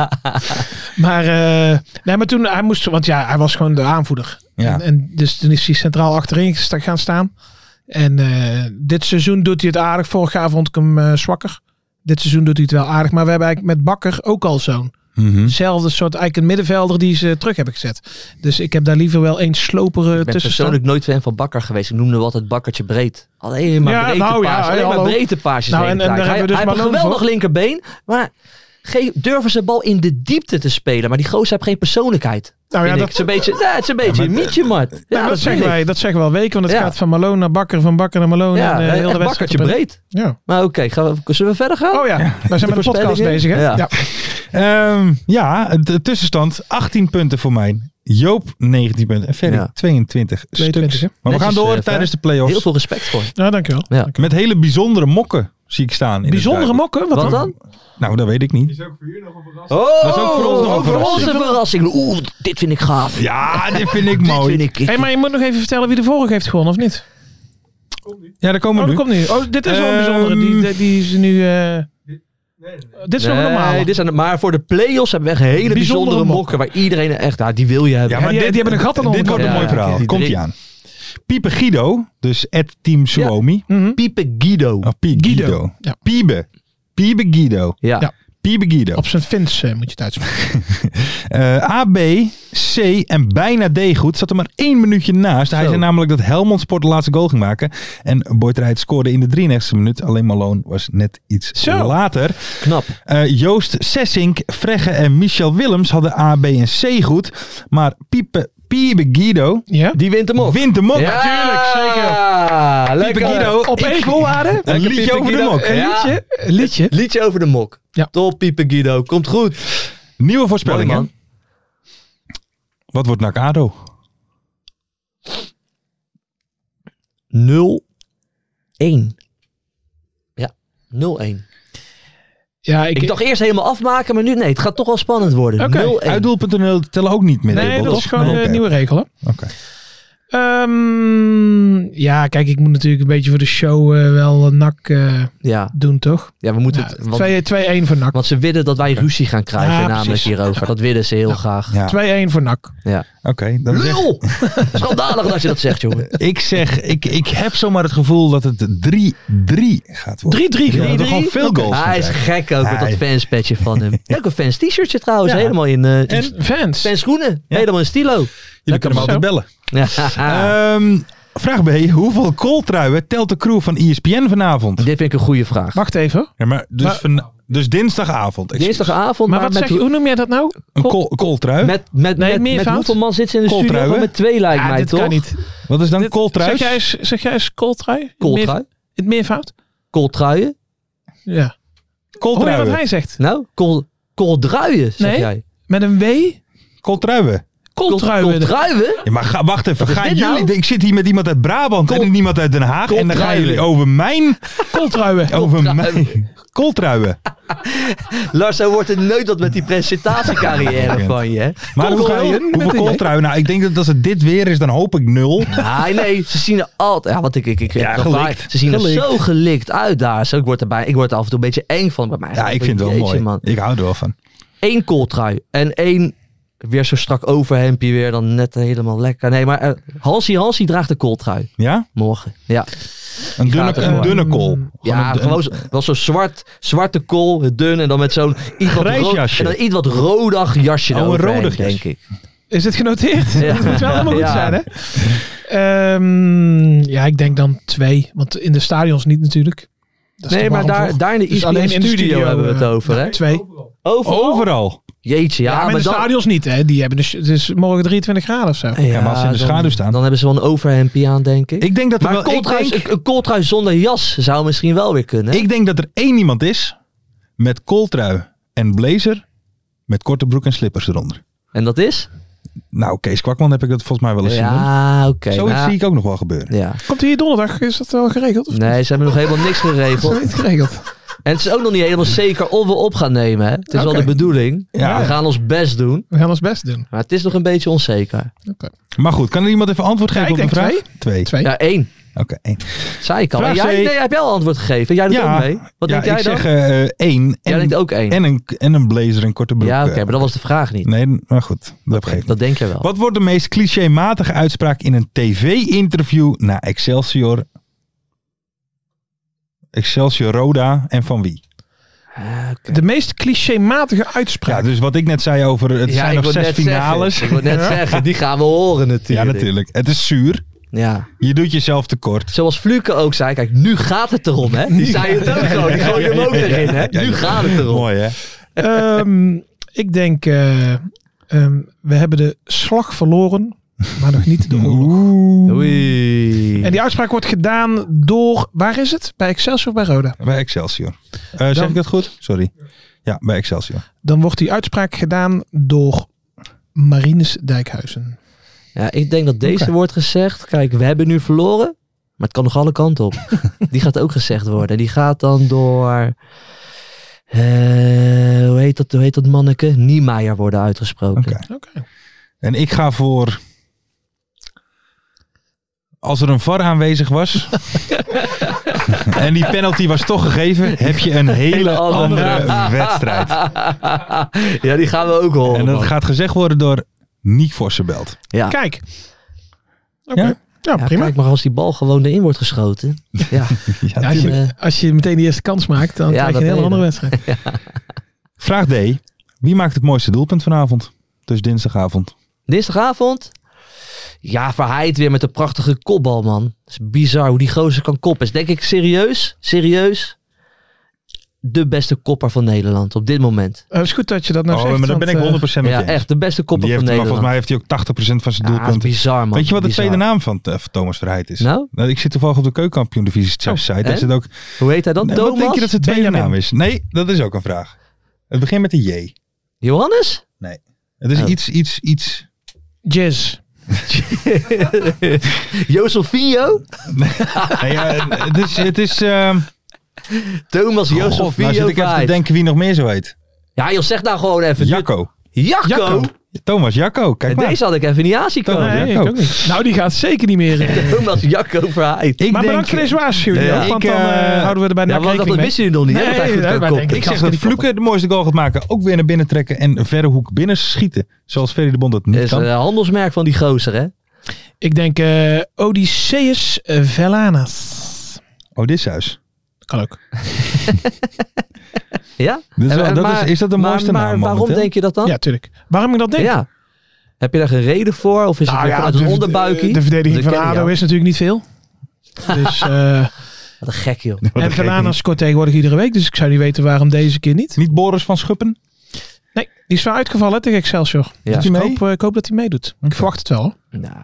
F: Maar, eh, nee, maar toen hij moest... Want ja, hij was gewoon de aanvoerder.
E: Ja.
F: En, en dus toen is hij centraal achterin gesta- gaan staan. En eh, dit seizoen doet hij het aardig. Vorig jaar vond ik hem eh, zwakker. Dit seizoen doet hij het wel aardig. Maar we hebben eigenlijk met Bakker ook al zo'n
E: Mhm.
F: Hetzelfde soort eigenlijk een middenvelder die ze terug hebben gezet. Dus ik heb daar liever wel eens sloperen
G: Ik ben
F: tussen staan.
G: persoonlijk nooit fan van Bakker geweest. Ik noemde hem altijd Bakkertje breed. Alleen maar
F: Ja,
G: breedte
F: nou ja,
G: paas.
F: hey,
G: alleen maar
F: hallo.
G: breedte paasjes.
F: Nou,
G: de hele
F: en- en
G: tijd.
F: daar
G: hij
F: hebben we dus
G: hij heeft een
F: Malone
G: geweldig linkerbeen, maar ge- durven ze bal in de diepte te spelen. Maar die gozer heeft geen persoonlijkheid.
F: Nou ja,
G: vind ik.
F: dat-
G: Het is een beetje, ja, het is een beetje een mietje, Mart. Ja,
F: Nee, maar dat,
G: vind
F: zeggen
G: ik.
F: wij, dat zeggen we al weken. Want het
G: Ja.
F: gaat van Malone naar Bakker, van Bakker naar Malone.
G: Ja,
F: en, eh,
G: echt
F: heel de wedstrijd.
G: Bakkertje
F: op en-
G: breed.
F: Ja.
G: Maar oké, gaan we- zullen we verder gaan?
F: Oh ja, wij zijn met de podcast
G: voorspellingen?
F: bezig. Hè?
G: Ja.
E: Ehm, ja, de tussenstand 18 punten voor mij. Joop 19 punten en Ferry
G: Ja.
E: 22,
F: 22, hè?
E: stuks. Maar we gaan
G: Netjes,
E: door
G: eh,
E: tijdens de
G: Heel
E: play-offs.
G: veel respect voor. je.
F: Nou, dankjewel.
G: Ja.
E: Met hele bijzondere mokken zie ik staan. in het
F: Bijzondere
E: duidelijk.
F: mokken. Wat,
G: Wat
F: dan?
G: dan?
E: Nou, dat weet ik niet.
G: Oh,
E: Dat is ook voor ons nog een
G: ook voor
E: verrassing.
G: ons een verrassing. Oeh, dit vind ik gaaf.
E: Ja, dit vind ik
G: Dit
E: mooi.
G: vind ik...
F: Hey, maar je moet nog even vertellen wie de vorige heeft gewonnen, of niet?
E: Ja, daar komen
F: Oh,
E: we
F: dat
E: nu.
F: komt nu. Oh, dit is wel een
E: Ehm,
F: bijzondere. Die, die, die is nu... eh, dit is nog een normale.
G: Nee, dit zijn, maar voor de play-offs hebben we echt hele bijzondere,
F: Bijzondere
G: mokken.
F: mokken.
G: Waar iedereen echt... Ja, die wil je hebben.
E: Ja, maar
F: die-
E: dit,
F: die hebben een gat aan de
E: Dit
F: onderkant.
E: wordt een mooi
G: Ja, ja,
E: verhaal.
G: die
E: Komt ie
G: drie.
E: aan. Piepe Guido, dus at Team Suomi.
F: Mhm.
G: Piepe Guido.
E: Of Pie
F: Guido.
E: Guido.
F: Ja.
E: Piebe. Piebe Guido.
G: Ja.
F: Ja.
E: Piebe Guido.
F: Op zijn Fins eh, moet je het uitspreken.
E: Eh, A, B, C en bijna D goed. Zat er maar één minuutje naast. Hij
G: Zo.
E: zei namelijk dat Helmond Sport de laatste goal ging maken. En Boyd Rijt scoorde in de 93e minuut. Alleen Malone was net iets
F: Zo.
E: later.
G: Knap.
E: Eh, Joost Sessink, Fregge en Michel Willems hadden A, B en C goed. Maar Piepe, Piebe Guido
F: Ja? Oh.
G: Die wint hem op.
E: wint de mok. Eh,
F: tuurlijk, zeker.
G: Ja, lekker.
E: Piepe Guido.
F: Op één voorwaarde.
E: Een liedje over de mok.
G: Een liedje.
F: Een liedje.
G: Liedje over de mok.
F: Ja.
G: Top, Piepe Guido. Komt goed.
E: Nieuwe
G: Mooi,
E: voorspelling, hè?
G: man.
E: Wat wordt NAC ADO?
G: 0-1. Ja, 0-1.
F: Ja, ik,
G: Ik dacht eerst helemaal afmaken, maar nu nee. Het gaat toch wel spannend worden.
F: Oké,
G: 0-1.
E: Uitdoel.nl tellen ook niet meer.
F: Nee,
E: Abel,
F: dat
E: toch?
F: is gewoon
E: Nee,
F: een
E: oké.
F: nieuwe regel. Hè?
E: Oké.
F: Ehm, ja, kijk, ik moet natuurlijk een beetje voor de show eh, wel een nak eh,
G: Ja,
F: doen, toch?
G: ja, we moeten
F: Ja,
G: het... Want,
F: 2-1 voor nak. 2-1
G: want ze willen dat wij ruzie gaan krijgen
F: Ja,
G: namelijk
F: precies.
G: hierover. Dat willen ze heel graag.
E: Ja, oké.
F: voor nak.
E: dan zeg
G: Lul! Schandalig dat je dat zegt, jongen.
E: Ik zeg, ik, ik heb zomaar het gevoel dat het 3-3 gaat worden.
F: 3-3
E: Ja,
F: gewoon.
E: dat er gewoon veel goals gaan
G: Hij is
E: zijn.
G: gek ook met dat
E: Hij-
G: fanspetje van hem. Ook een fans t-shirtje trouwens.
E: Ja.
G: Helemaal in, eh, in
F: Fans.
G: fanschoenen. Helemaal in stilo.
E: Jullie kunnen me
F: Zo.
E: altijd bellen.
G: Ja.
E: Ehm, Vraag B. Hoeveel kooltruien telt de crew van E ESPN vanavond?
G: Dit vind ik een goede vraag.
F: Wacht even.
E: Ja, maar dus,
F: Maar-
E: van, dus dinsdagavond. excuus.
G: Dinsdagavond, maar,
F: Maar wat
G: met,
F: zeg je, hoe noem jij dat nou?
E: Een kool, kooltrui?
G: met, met,
F: Nee,
G: met, met
F: meervoud?
G: hoeveel man zit ze in de
E: Kooltrui,
G: studio?
E: hè?
G: Maar Met twee lijkt
E: Ah,
G: mij
F: dit
G: toch?
F: kan niet.
E: Wat is dan
F: Dit-
E: kooltrui?
F: Zeg jij eens, zeg jij eens kooltrui? In het meer-
G: Kooltrui.
F: In het meervoud?
G: Kooltruien?
F: Ja. Hoor je wat
E: Kooltruien.
F: hij zegt?
G: Nou, kool, kooldruien, zeg
F: Nee.
G: jij.
F: Met een W?
E: Kooltruien.
F: Kooltruien.
G: Kooltruien?
E: Ja, maar ga, wacht even.
G: is
E: Gaan
G: dit nou?
E: jullie, ik zit hier met iemand uit Brabant
G: Kool-
E: en iemand uit Den Haag. En dan gaan
G: Kooltruien.
E: jullie over mijn...
F: Kooltruien.
E: Over mijn... Kooltruien.
G: Lars, zo wordt het nooit dat met die presentatiecarrière van je, hè?
E: Maar hoe ga je? Hoeveel kooltruien? Nou, ik denk dat als het dit weer is, dan hoop ik nul.
G: Nee, Ah, nee, ze zien er altijd. Ja, want ik, ik, ik,
E: Ja,
G: ik-
E: gelikt.
G: Ze zien er
E: Gelikt.
G: zo gelikt uit daar. Zo, ik, word erbij, ik word er af en toe een beetje eng van. Bij mij.
E: Ja, ik vind het wel
G: Jeetje,
E: mooi.
G: Man.
E: Ik hou er wel van.
G: Eén kooltrui en één weer zo strak overhemdje weer. Dan net helemaal lekker. Nee, maar eh, Hansi Hansi draagt een kooltrui
E: Ja?
G: morgen. Ja,
E: Een
G: gaat
E: dunne,
G: er
E: een
G: gewoon.
E: dunne kool.
G: ja
E: een-
G: gewoon zo- wel zo'n zwart, zwarte kool, dun. En dan met zo'n iets wat,
E: Grijs
G: rood-
E: jasje.
G: en dan iets wat rodig jasje
E: Oh, een
G: eroverheen,
E: rodig jasje.
G: denk ik.
F: Is dit genoteerd?
G: Ja.
F: Dat moet wel helemaal goed
G: Ja.
F: zijn, hè? Ehm, ja, ik denk dan twee. Want in de stadions niet natuurlijk. Dat is
G: Nee,
F: toch
G: maar daar,
F: harmvol.
G: daar in de
F: Dus alleen in de
G: studio,
F: studio,
G: hebben we het
F: eh,
G: over, hè?
F: Twee. Ja,
G: Overal?
E: Oh. Overal.
G: Jeetje, ja.
F: maar in de
G: dan-
F: stadions niet, hè? Die hebben dus, het is morgen 23 graden of zo.
E: Ja, maar als ze in de
G: dan-
E: schaduw staan.
G: Dan hebben ze wel een overhempje aan, denk ik.
E: Ik denk dat er
G: maar
E: wel... ik
G: Kooltruis-
E: denk-
G: een, een kooltrui zonder jas zou misschien wel weer kunnen. hè?
E: Ik denk dat er één iemand is met kooltrui en blazer met korte broek en slippers eronder.
G: En dat is?
E: Nou, Kees Kwakman heb ik dat volgens mij wel eens zien. doen.
G: Ja, oké.
E: Zoiets
G: nou,
E: zie ik ook nog wel gebeuren.
G: Ja.
F: Komt hier donderdag? Is dat wel geregeld? Of
G: Nee, ze hebben nog helemaal niks
F: is dat
G: geregeld.
F: niet geregeld?
G: En het is ook nog niet helemaal zeker of we op gaan nemen. Hè? Het is wel
F: Oké.
G: de bedoeling.
E: Ja.
G: We gaan ons best doen.
F: We gaan ons best doen.
G: Maar het is nog een beetje onzeker.
E: Maar goed, kan er iemand even antwoord geven
F: ik
E: op de
F: denk
E: vraag?
F: twee.
E: Twee.
F: Twee.
G: Ja, één.
E: Oké, één.
G: Zei ik al.
E: Vraag
G: En jij,
E: C.
G: nee, heb jij al antwoord gegeven? Jij doet ook mee? Wat
E: ja,
G: denk jij
E: ik
G: dan?
E: zeg eh, eh, één
G: jij
E: en,
G: denkt ook één.
E: en, een, en een blazer en korte broek.
G: ja, oké.
E: eh.
G: maar dat was de vraag niet.
E: Nee, maar goed, dat geeft niet.
G: Dat denk je wel.
E: Wat wordt de meest clichématige uitspraak in een tv-interview na Excelsior? Excelsior Roda en van wie?
G: Ah, oké.
F: De meest clichématige uitspraak.
E: Ja, dus wat ik net zei over het
G: Ja,
E: zijn
G: ik
E: nog
G: wou
E: zes
G: net zeggen.
E: finales.
G: Ik wil net zeggen, die gaan we horen
E: Ja,
G: natuurlijk.
E: natuurlijk. Het is zuur.
G: Ja.
E: Je doet jezelf tekort.
G: Zoals Fluke ook zei, kijk, nu gaat het erom, hè? Die zei het ook zo, die gooide hem ook erin, hè? Nu gaat het erom.
E: Mooi, hè?
F: Ehm, ik denk, eh, ehm, we hebben de slag verloren, maar nog niet de oorlog.
G: Oei.
F: En die uitspraak wordt gedaan door, waar is het? Bij Excelsior of bij Roda?
E: Bij Excelsior. Eh, zeg
F: Dan-
E: ik dat goed? Sorry. Ja, bij Excelsior.
F: Dan wordt die uitspraak gedaan door Marinus Dijkhuizen.
G: Ja, ik denk dat deze
E: Oké.
G: wordt gezegd. Kijk, we hebben nu verloren, maar het kan nog alle kanten op. die gaat ook gezegd worden. En die gaat dan door... eh, hoe, heet dat, hoe heet dat manneke? Niemeyer worden uitgesproken.
E: Oké. En ik ga voor... Als er een VAR aanwezig was en die penalty was toch gegeven, heb je een hele, andere, Ah. wedstrijd.
G: ja, die gaan we ook horen.
E: En dat
G: man.
E: gaat gezegd worden door Niek Vossenbelt.
G: ja.
F: Kijk. Oké.
E: Ja?
F: Ja,
G: Ja,
F: prima.
G: Kijk maar als die bal gewoon erin wordt geschoten. Ja,
E: Ja,
F: Ja, als,
G: tuurlijk.
F: je, als je meteen de eerste kans maakt, dan
G: Ja,
F: krijg je
G: dat
F: een hele
G: ben je
F: andere wedstrijd.
E: Vraag D. Wie maakt het mooiste doelpunt vanavond? Dus dinsdagavond.
G: Nou, Dinsdagavond. Ja, Verheid weer met een prachtige kopbal, man. Het is bizar hoe die gozer kan koppen. Is denk ik serieus, serieus, de beste kopper van Nederland op dit moment.
F: Het is goed dat je dat nou
E: oh,
F: zegt.
E: maar daar
F: want,
E: ben ik 100%
F: eh,
E: met je
G: Ja,
E: eens.
G: echt, de beste kopper
E: Die heeft,
G: van
E: maar
G: Nederland.
E: volgens mij heeft hij ook 80% van zijn
G: ja, dat is
E: doelpunten.
G: bizar, man.
E: Weet je wat de
G: Bizar.
E: tweede naam van eh, van Thomas Verheid is?
G: Nou?
E: ik zit toevallig op de keukenkampioen divisie
G: Oh,
E: site.
G: en?
E: Daar zit ook...
G: Hoe heet hij dan?
E: Nee,
G: Thomas?
E: wat denk je dat zijn tweede
F: Benjamin.
E: naam is? Nee, dat is ook een vraag. Het begint met een J.
G: Johannes?
E: Het is
G: Oh.
E: iets, iets, iets...
F: Jazz.
G: Josefinho?
E: Nee, ja, het is... Het is ehm,
G: Thomas
E: God, nou zit
G: Josefinho
E: ik even te
G: Verheid.
E: denken wie nog meer zo heet.
G: Ja, joh, zeg nou gewoon even.
E: Jacco.
G: Jacco?
F: Jacco.
E: Thomas Jacco, kijk
G: En
E: maar.
G: Deze had ik even niet aan zien komen.
E: Thomas.
F: Nee, ik
E: ook.
F: ook niet. Nou, die gaat zeker niet meer. in.
G: Thomas Jacco Verheid.
E: Ik
F: maar
E: denk-
F: bedankt voor deze waarschuwing.
G: Ja,
F: joh,
G: ik,
F: want dan eh,
E: eh,
F: houden we er bij
G: Ja,
F: NAC
G: want dat
F: rekening mee.
G: wisten jullie nog niet. hè,
F: Nee,
G: dat hij goed
F: nee,
G: kan
F: wij
G: koppen.
F: denken-
E: Ik zeg
F: Gasten
E: dat
F: die koppen.
E: Vloeken de mooiste goal gaat maken. Ook weer naar binnen trekken en een verre hoek binnen schieten. Zoals Ferry de Bond dat
G: Dat
E: niet
G: is eh,
E: kan.
G: een handelsmerk van die gozer, hè?
F: Ik denk eh Odysseus eh, Vellanas.
E: Oh, Odysseus.
F: Kan ook.
G: Ja?
E: Dat is,
G: En-
E: wel-
G: en
E: dat
G: maar-
E: is, is dat de
G: maar-
E: mooiste
G: maar
E: naam
G: waarom
E: momenteel?
G: denk je dat dan?
F: Ja, tuurlijk. Waarom ik dat denk? Nou
G: Ja. Heb je daar een reden voor? Of
E: Nou
G: is het weer vanuit een onderbuikje?
F: de, de verdediging
G: Dat
F: van
G: ken je
F: ADO
G: al.
F: is natuurlijk niet veel. Dus, eh,
G: Wat een gek joh.
E: Wat
F: en
E: een gek
F: Verlaan
E: niet.
F: scoort tegenwoordig iedere week. Dus ik zou niet weten waarom deze keer niet.
E: Niet Boris van Schuppen?
F: Nee, die is wel uitgevallen hè, tegen Excelsior.
G: Ja.
F: Dus
E: Doet
F: ik,
E: hij mee?
F: hoop, eh, ik hoop dat hij meedoet. Ik verwacht het wel. hoor.
G: Nou,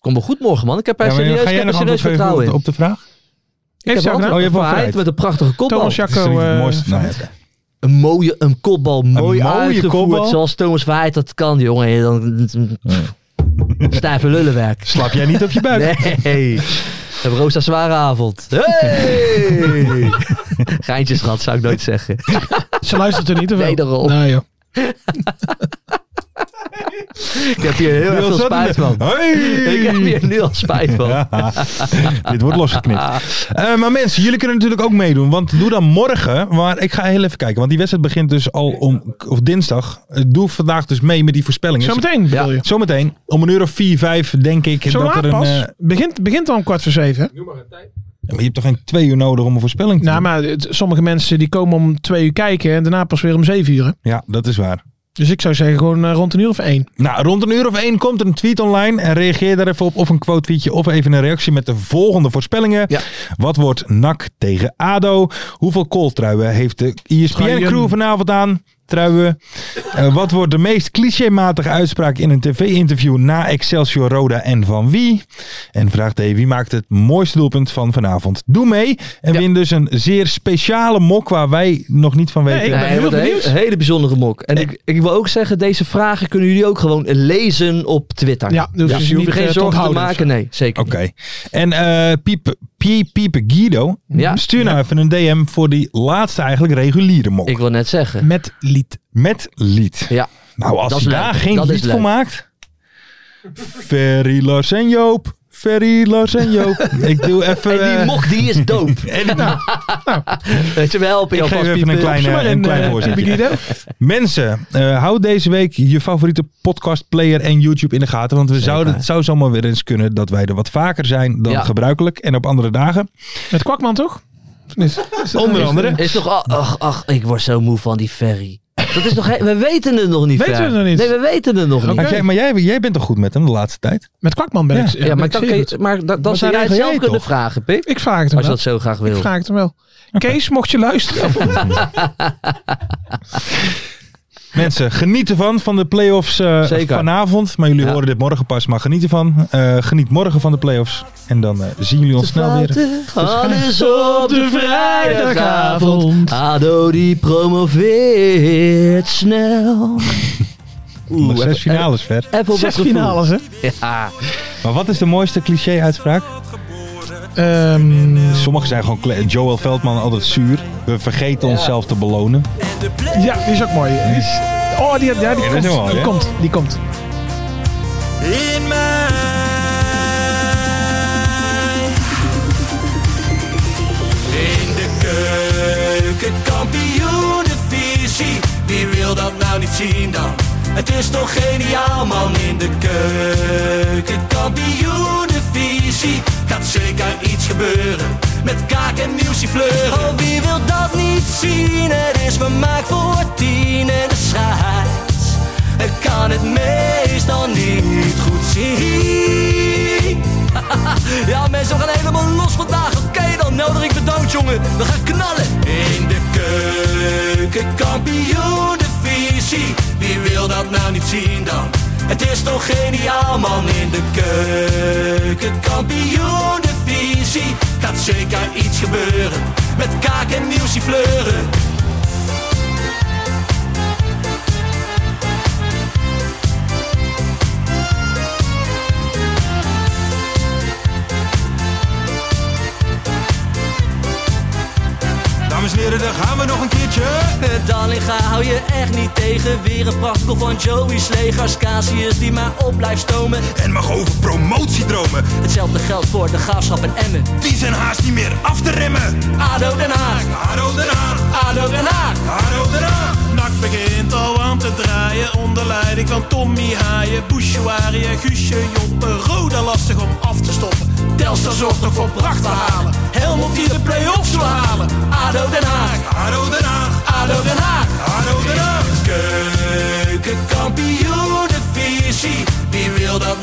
G: kom wel goed morgen man. Ik heb er
E: Ja, maar
G: serieus, ik heb er serieus
E: geven op
G: vertrouwen
E: de-
G: in.
E: op de vraag?
G: Ik
F: Heeft
G: heb
F: hij al
G: altijd
F: gedaan?
E: Oh, je hebt wel
G: een
E: vooruit.
G: verheid met een prachtige kopbal.
F: Thomas
E: Het is
F: Jacco.
E: toch niet het
F: eh,
E: mooiste. Nou ja, oké.
G: Een mooie een kopbal. Mooi
E: mooie
G: uitgevoerd.
E: kopbal.
G: Zoals Thomas Verheid dat kan jongen. Dan, Stijve lullenwerk.
E: Slaap jij niet op je buik?
G: Nee. We hebben Roos een zware avond. Hey! Geintjes gehad, zou ik nooit zeggen.
F: Ze luistert er niet of wel?
G: Nee, daarom.
F: Nou, joh.
G: Ik heb hier heel erg veel spijt van. Ik heb hier nu al spijt van.
E: Dit wordt losgeknipt. Eh, maar mensen, jullie kunnen natuurlijk ook meedoen. Want doe dan morgen. Maar ik ga heel even kijken. Want die wedstrijd begint dus al om. Of dinsdag. Eh, Doe vandaag dus mee met die voorspellingen.
F: Zometeen bedoel
G: Ja.
F: je?
E: Zometeen, om een uur of vier, vijf, denk ik.
F: Zo
E: dat
F: laat
E: er een,
F: pas?
E: eh,
F: begint, begint al om kwart voor zeven. hè?
E: maar je hebt toch geen twee uur nodig om een voorspelling te
F: Nou,
E: doen?
F: maar het- sommige mensen die komen om twee uur kijken en daarna pas weer om zeven uur. hè?
E: Ja, dat is waar.
F: Dus ik zou zeggen gewoon eh, rond een uur of één.
E: Nou, rond een uur of één komt er een tweet online. En reageer daar even op. Of een quote tweetje of even een reactie met de volgende voorspellingen.
G: Ja.
E: Wat wordt NAC tegen ADO? Hoeveel kooltruien heeft de ESPN-crew
F: Truien.
E: vanavond aan? Truien. Eh, wat wordt de meest clichématige uitspraak in een tv-interview na Excelsior Roda en van wie? En vraag D, wie maakt het mooiste doelpunt van vanavond? Doe mee en win dus een zeer speciale mok waar wij nog niet van weten.
F: ik ben
G: Nee,
F: heel
G: wat een
F: benieuwd.
G: hele, hele bijzondere mok. En ik, ik wil ook zeggen, deze vragen kunnen jullie ook gewoon lezen op Twitter.
F: Ja, dan hoef je
G: dus
F: ze
G: je hoeft
F: niet,
G: je
F: eh,
G: geen
F: te
G: zorgen te
F: onthouden.
G: maken. Nee, zeker
E: Oké. En eh Piep, Piep, Piep Guido,
G: Ja.
E: stuur nou even een DM voor die laatste eigenlijk reguliere mok.
G: niet. Ik wil net zeggen.
F: Met lied.
E: Met lied.
G: Ja.
E: Nou, als
G: Dat
E: je
G: is
E: daar
G: leuk.
E: geen
G: Dat
E: lied
G: is
E: voor
G: leuk.
E: maakt. Ferry, Lars en Joop. Ferry, Lars en Joop. Ik doe even...
G: En die
E: eh,
G: mok, die is doop. Weet je, we helpen
E: Ik
G: jou
E: geef
G: vast,
E: even
G: Pieper.
E: een kleine,
F: maar
E: een
F: een,
E: klein
F: eh,
E: voorzetje. Mensen, eh hou deze week je favoriete podcast player en YouTube in de gaten. Want we zouden, het zou zomaar weer eens kunnen dat wij er wat vaker zijn dan
G: Ja.
E: gebruikelijk. En op andere dagen.
F: Met Kwakman toch? Of niet?
E: Onder andere.
G: Is toch, al- ach, ach, ik word zo moe van die ferry. Dat is nog, he- we weten het nog niet.
F: Weten we
G: Fer.
F: het nog niet?
G: Nee, we weten het nog
E: Had
G: niet.
E: jij, maar jij, jij bent toch goed met hem de laatste tijd?
F: Met Kwakman ben
E: Ja.
F: ik.
G: Ja,
F: ben
G: maar
F: ik
G: dan,
F: zeer
G: kun
F: goed.
G: je, maar dan, dan zou jij het
E: regel
G: zelf
E: jij
G: kunnen
E: toch?
G: vragen, Pip.
F: Ik vraag het hem
G: Als je
F: wel.
G: dat zo graag
F: Ik
G: wil.
F: vraag het hem wel. Kees, mocht je luisteren.
E: Mensen, geniet ervan van de play-offs eh,
G: Zeker.
E: vanavond. Maar jullie
G: Ja.
E: horen dit morgen pas, maar geniet ervan. Eh, geniet morgen van de play-offs. En dan eh, zien jullie ons snel weer.
G: Alles op de vrijdagavond. ADO die promoveert snel.
E: Nog
G: even-
E: zes finales ver.
G: Even op
F: Zes
G: het gevoel.
F: finales, hè?
G: Ja.
E: eh, Maar wat is de mooiste cliché-uitspraak?
F: Ehm,
E: Sommigen zijn gewoon kle- Joel Veldman altijd zuur. We vergeten onszelf te belonen.
F: ja, die is ook mooi. Die is- oh, die, ja, die,
E: is
F: komt,
E: wel mooi,
F: die
E: hè?
F: komt. Die komt.
B: In mij. In de keuken, kampioen de visie. Wie wil dat nou niet zien dan? Het is toch geniaal man in de keuken, kampioen de visie. Gaat zeker iets gebeuren met kaak en muziefleur. Oh, wie wil dat niet zien? Het is vermaakt voor tien en de scheids. Ik kan het meestal niet goed zien. Ja, mensen, we gaan helemaal los vandaag. Oké, dan nodig ik de dood, jongen. We gaan knallen. In de keuken, kampioen, de visie. Wie wil dat nou niet zien dan? Het is toch geniaal, man. In de keuken, kampioen, de visie. Gaat zeker iets gebeuren. Met kaak en nieuwsie fleuren.
I: Dames en heren, daar gaan we nog een keertje.
B: Eh, Dallinga hou je echt niet tegen. Weer een prachtkel van Joey's legers. Casius die maar op blijft stomen.
I: En mag over promotiedromen.
B: Hetzelfde geldt voor de graafschap en Emmen.
I: Die zijn haast niet meer af te remmen.
B: ADO Den Haag,
I: Haro Den Haag,
B: ADO Den Haag.
I: Haro Den Haag.
J: Nak begint al aan te draaien onder leiding van Tommy Haaien, Bouchouari en Guusje Joppen. Roda lastig om af te stoppen.
B: Telstar zorgt nog voor pracht te halen. Helmond die de play-offs wil halen. ADO Den Haag,
I: Haro Den Haag,
B: ADO Den Haag.
I: Haro Den Haag.
B: Keukenkampioen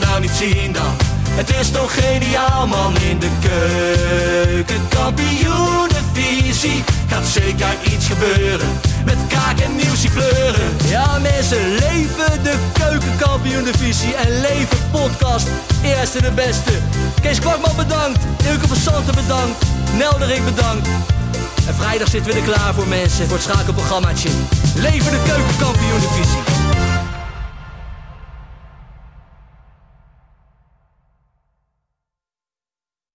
B: nou zien dan. Het is toch geniaal man in de keuken. Kampioenenvisie gaat zeker iets gebeuren. Met kaak en nieuwsie pleuren. Ja mensen, leven de keukenkampioenenvisie en leven podcast. Eerste de beste. Kees Kwakman bedankt. Ilke van Santen bedankt. Nelderik bedankt. En vrijdag zitten we er klaar voor mensen, voor het schakelprogrammaatje. Leven de keukenkampioenenvisie.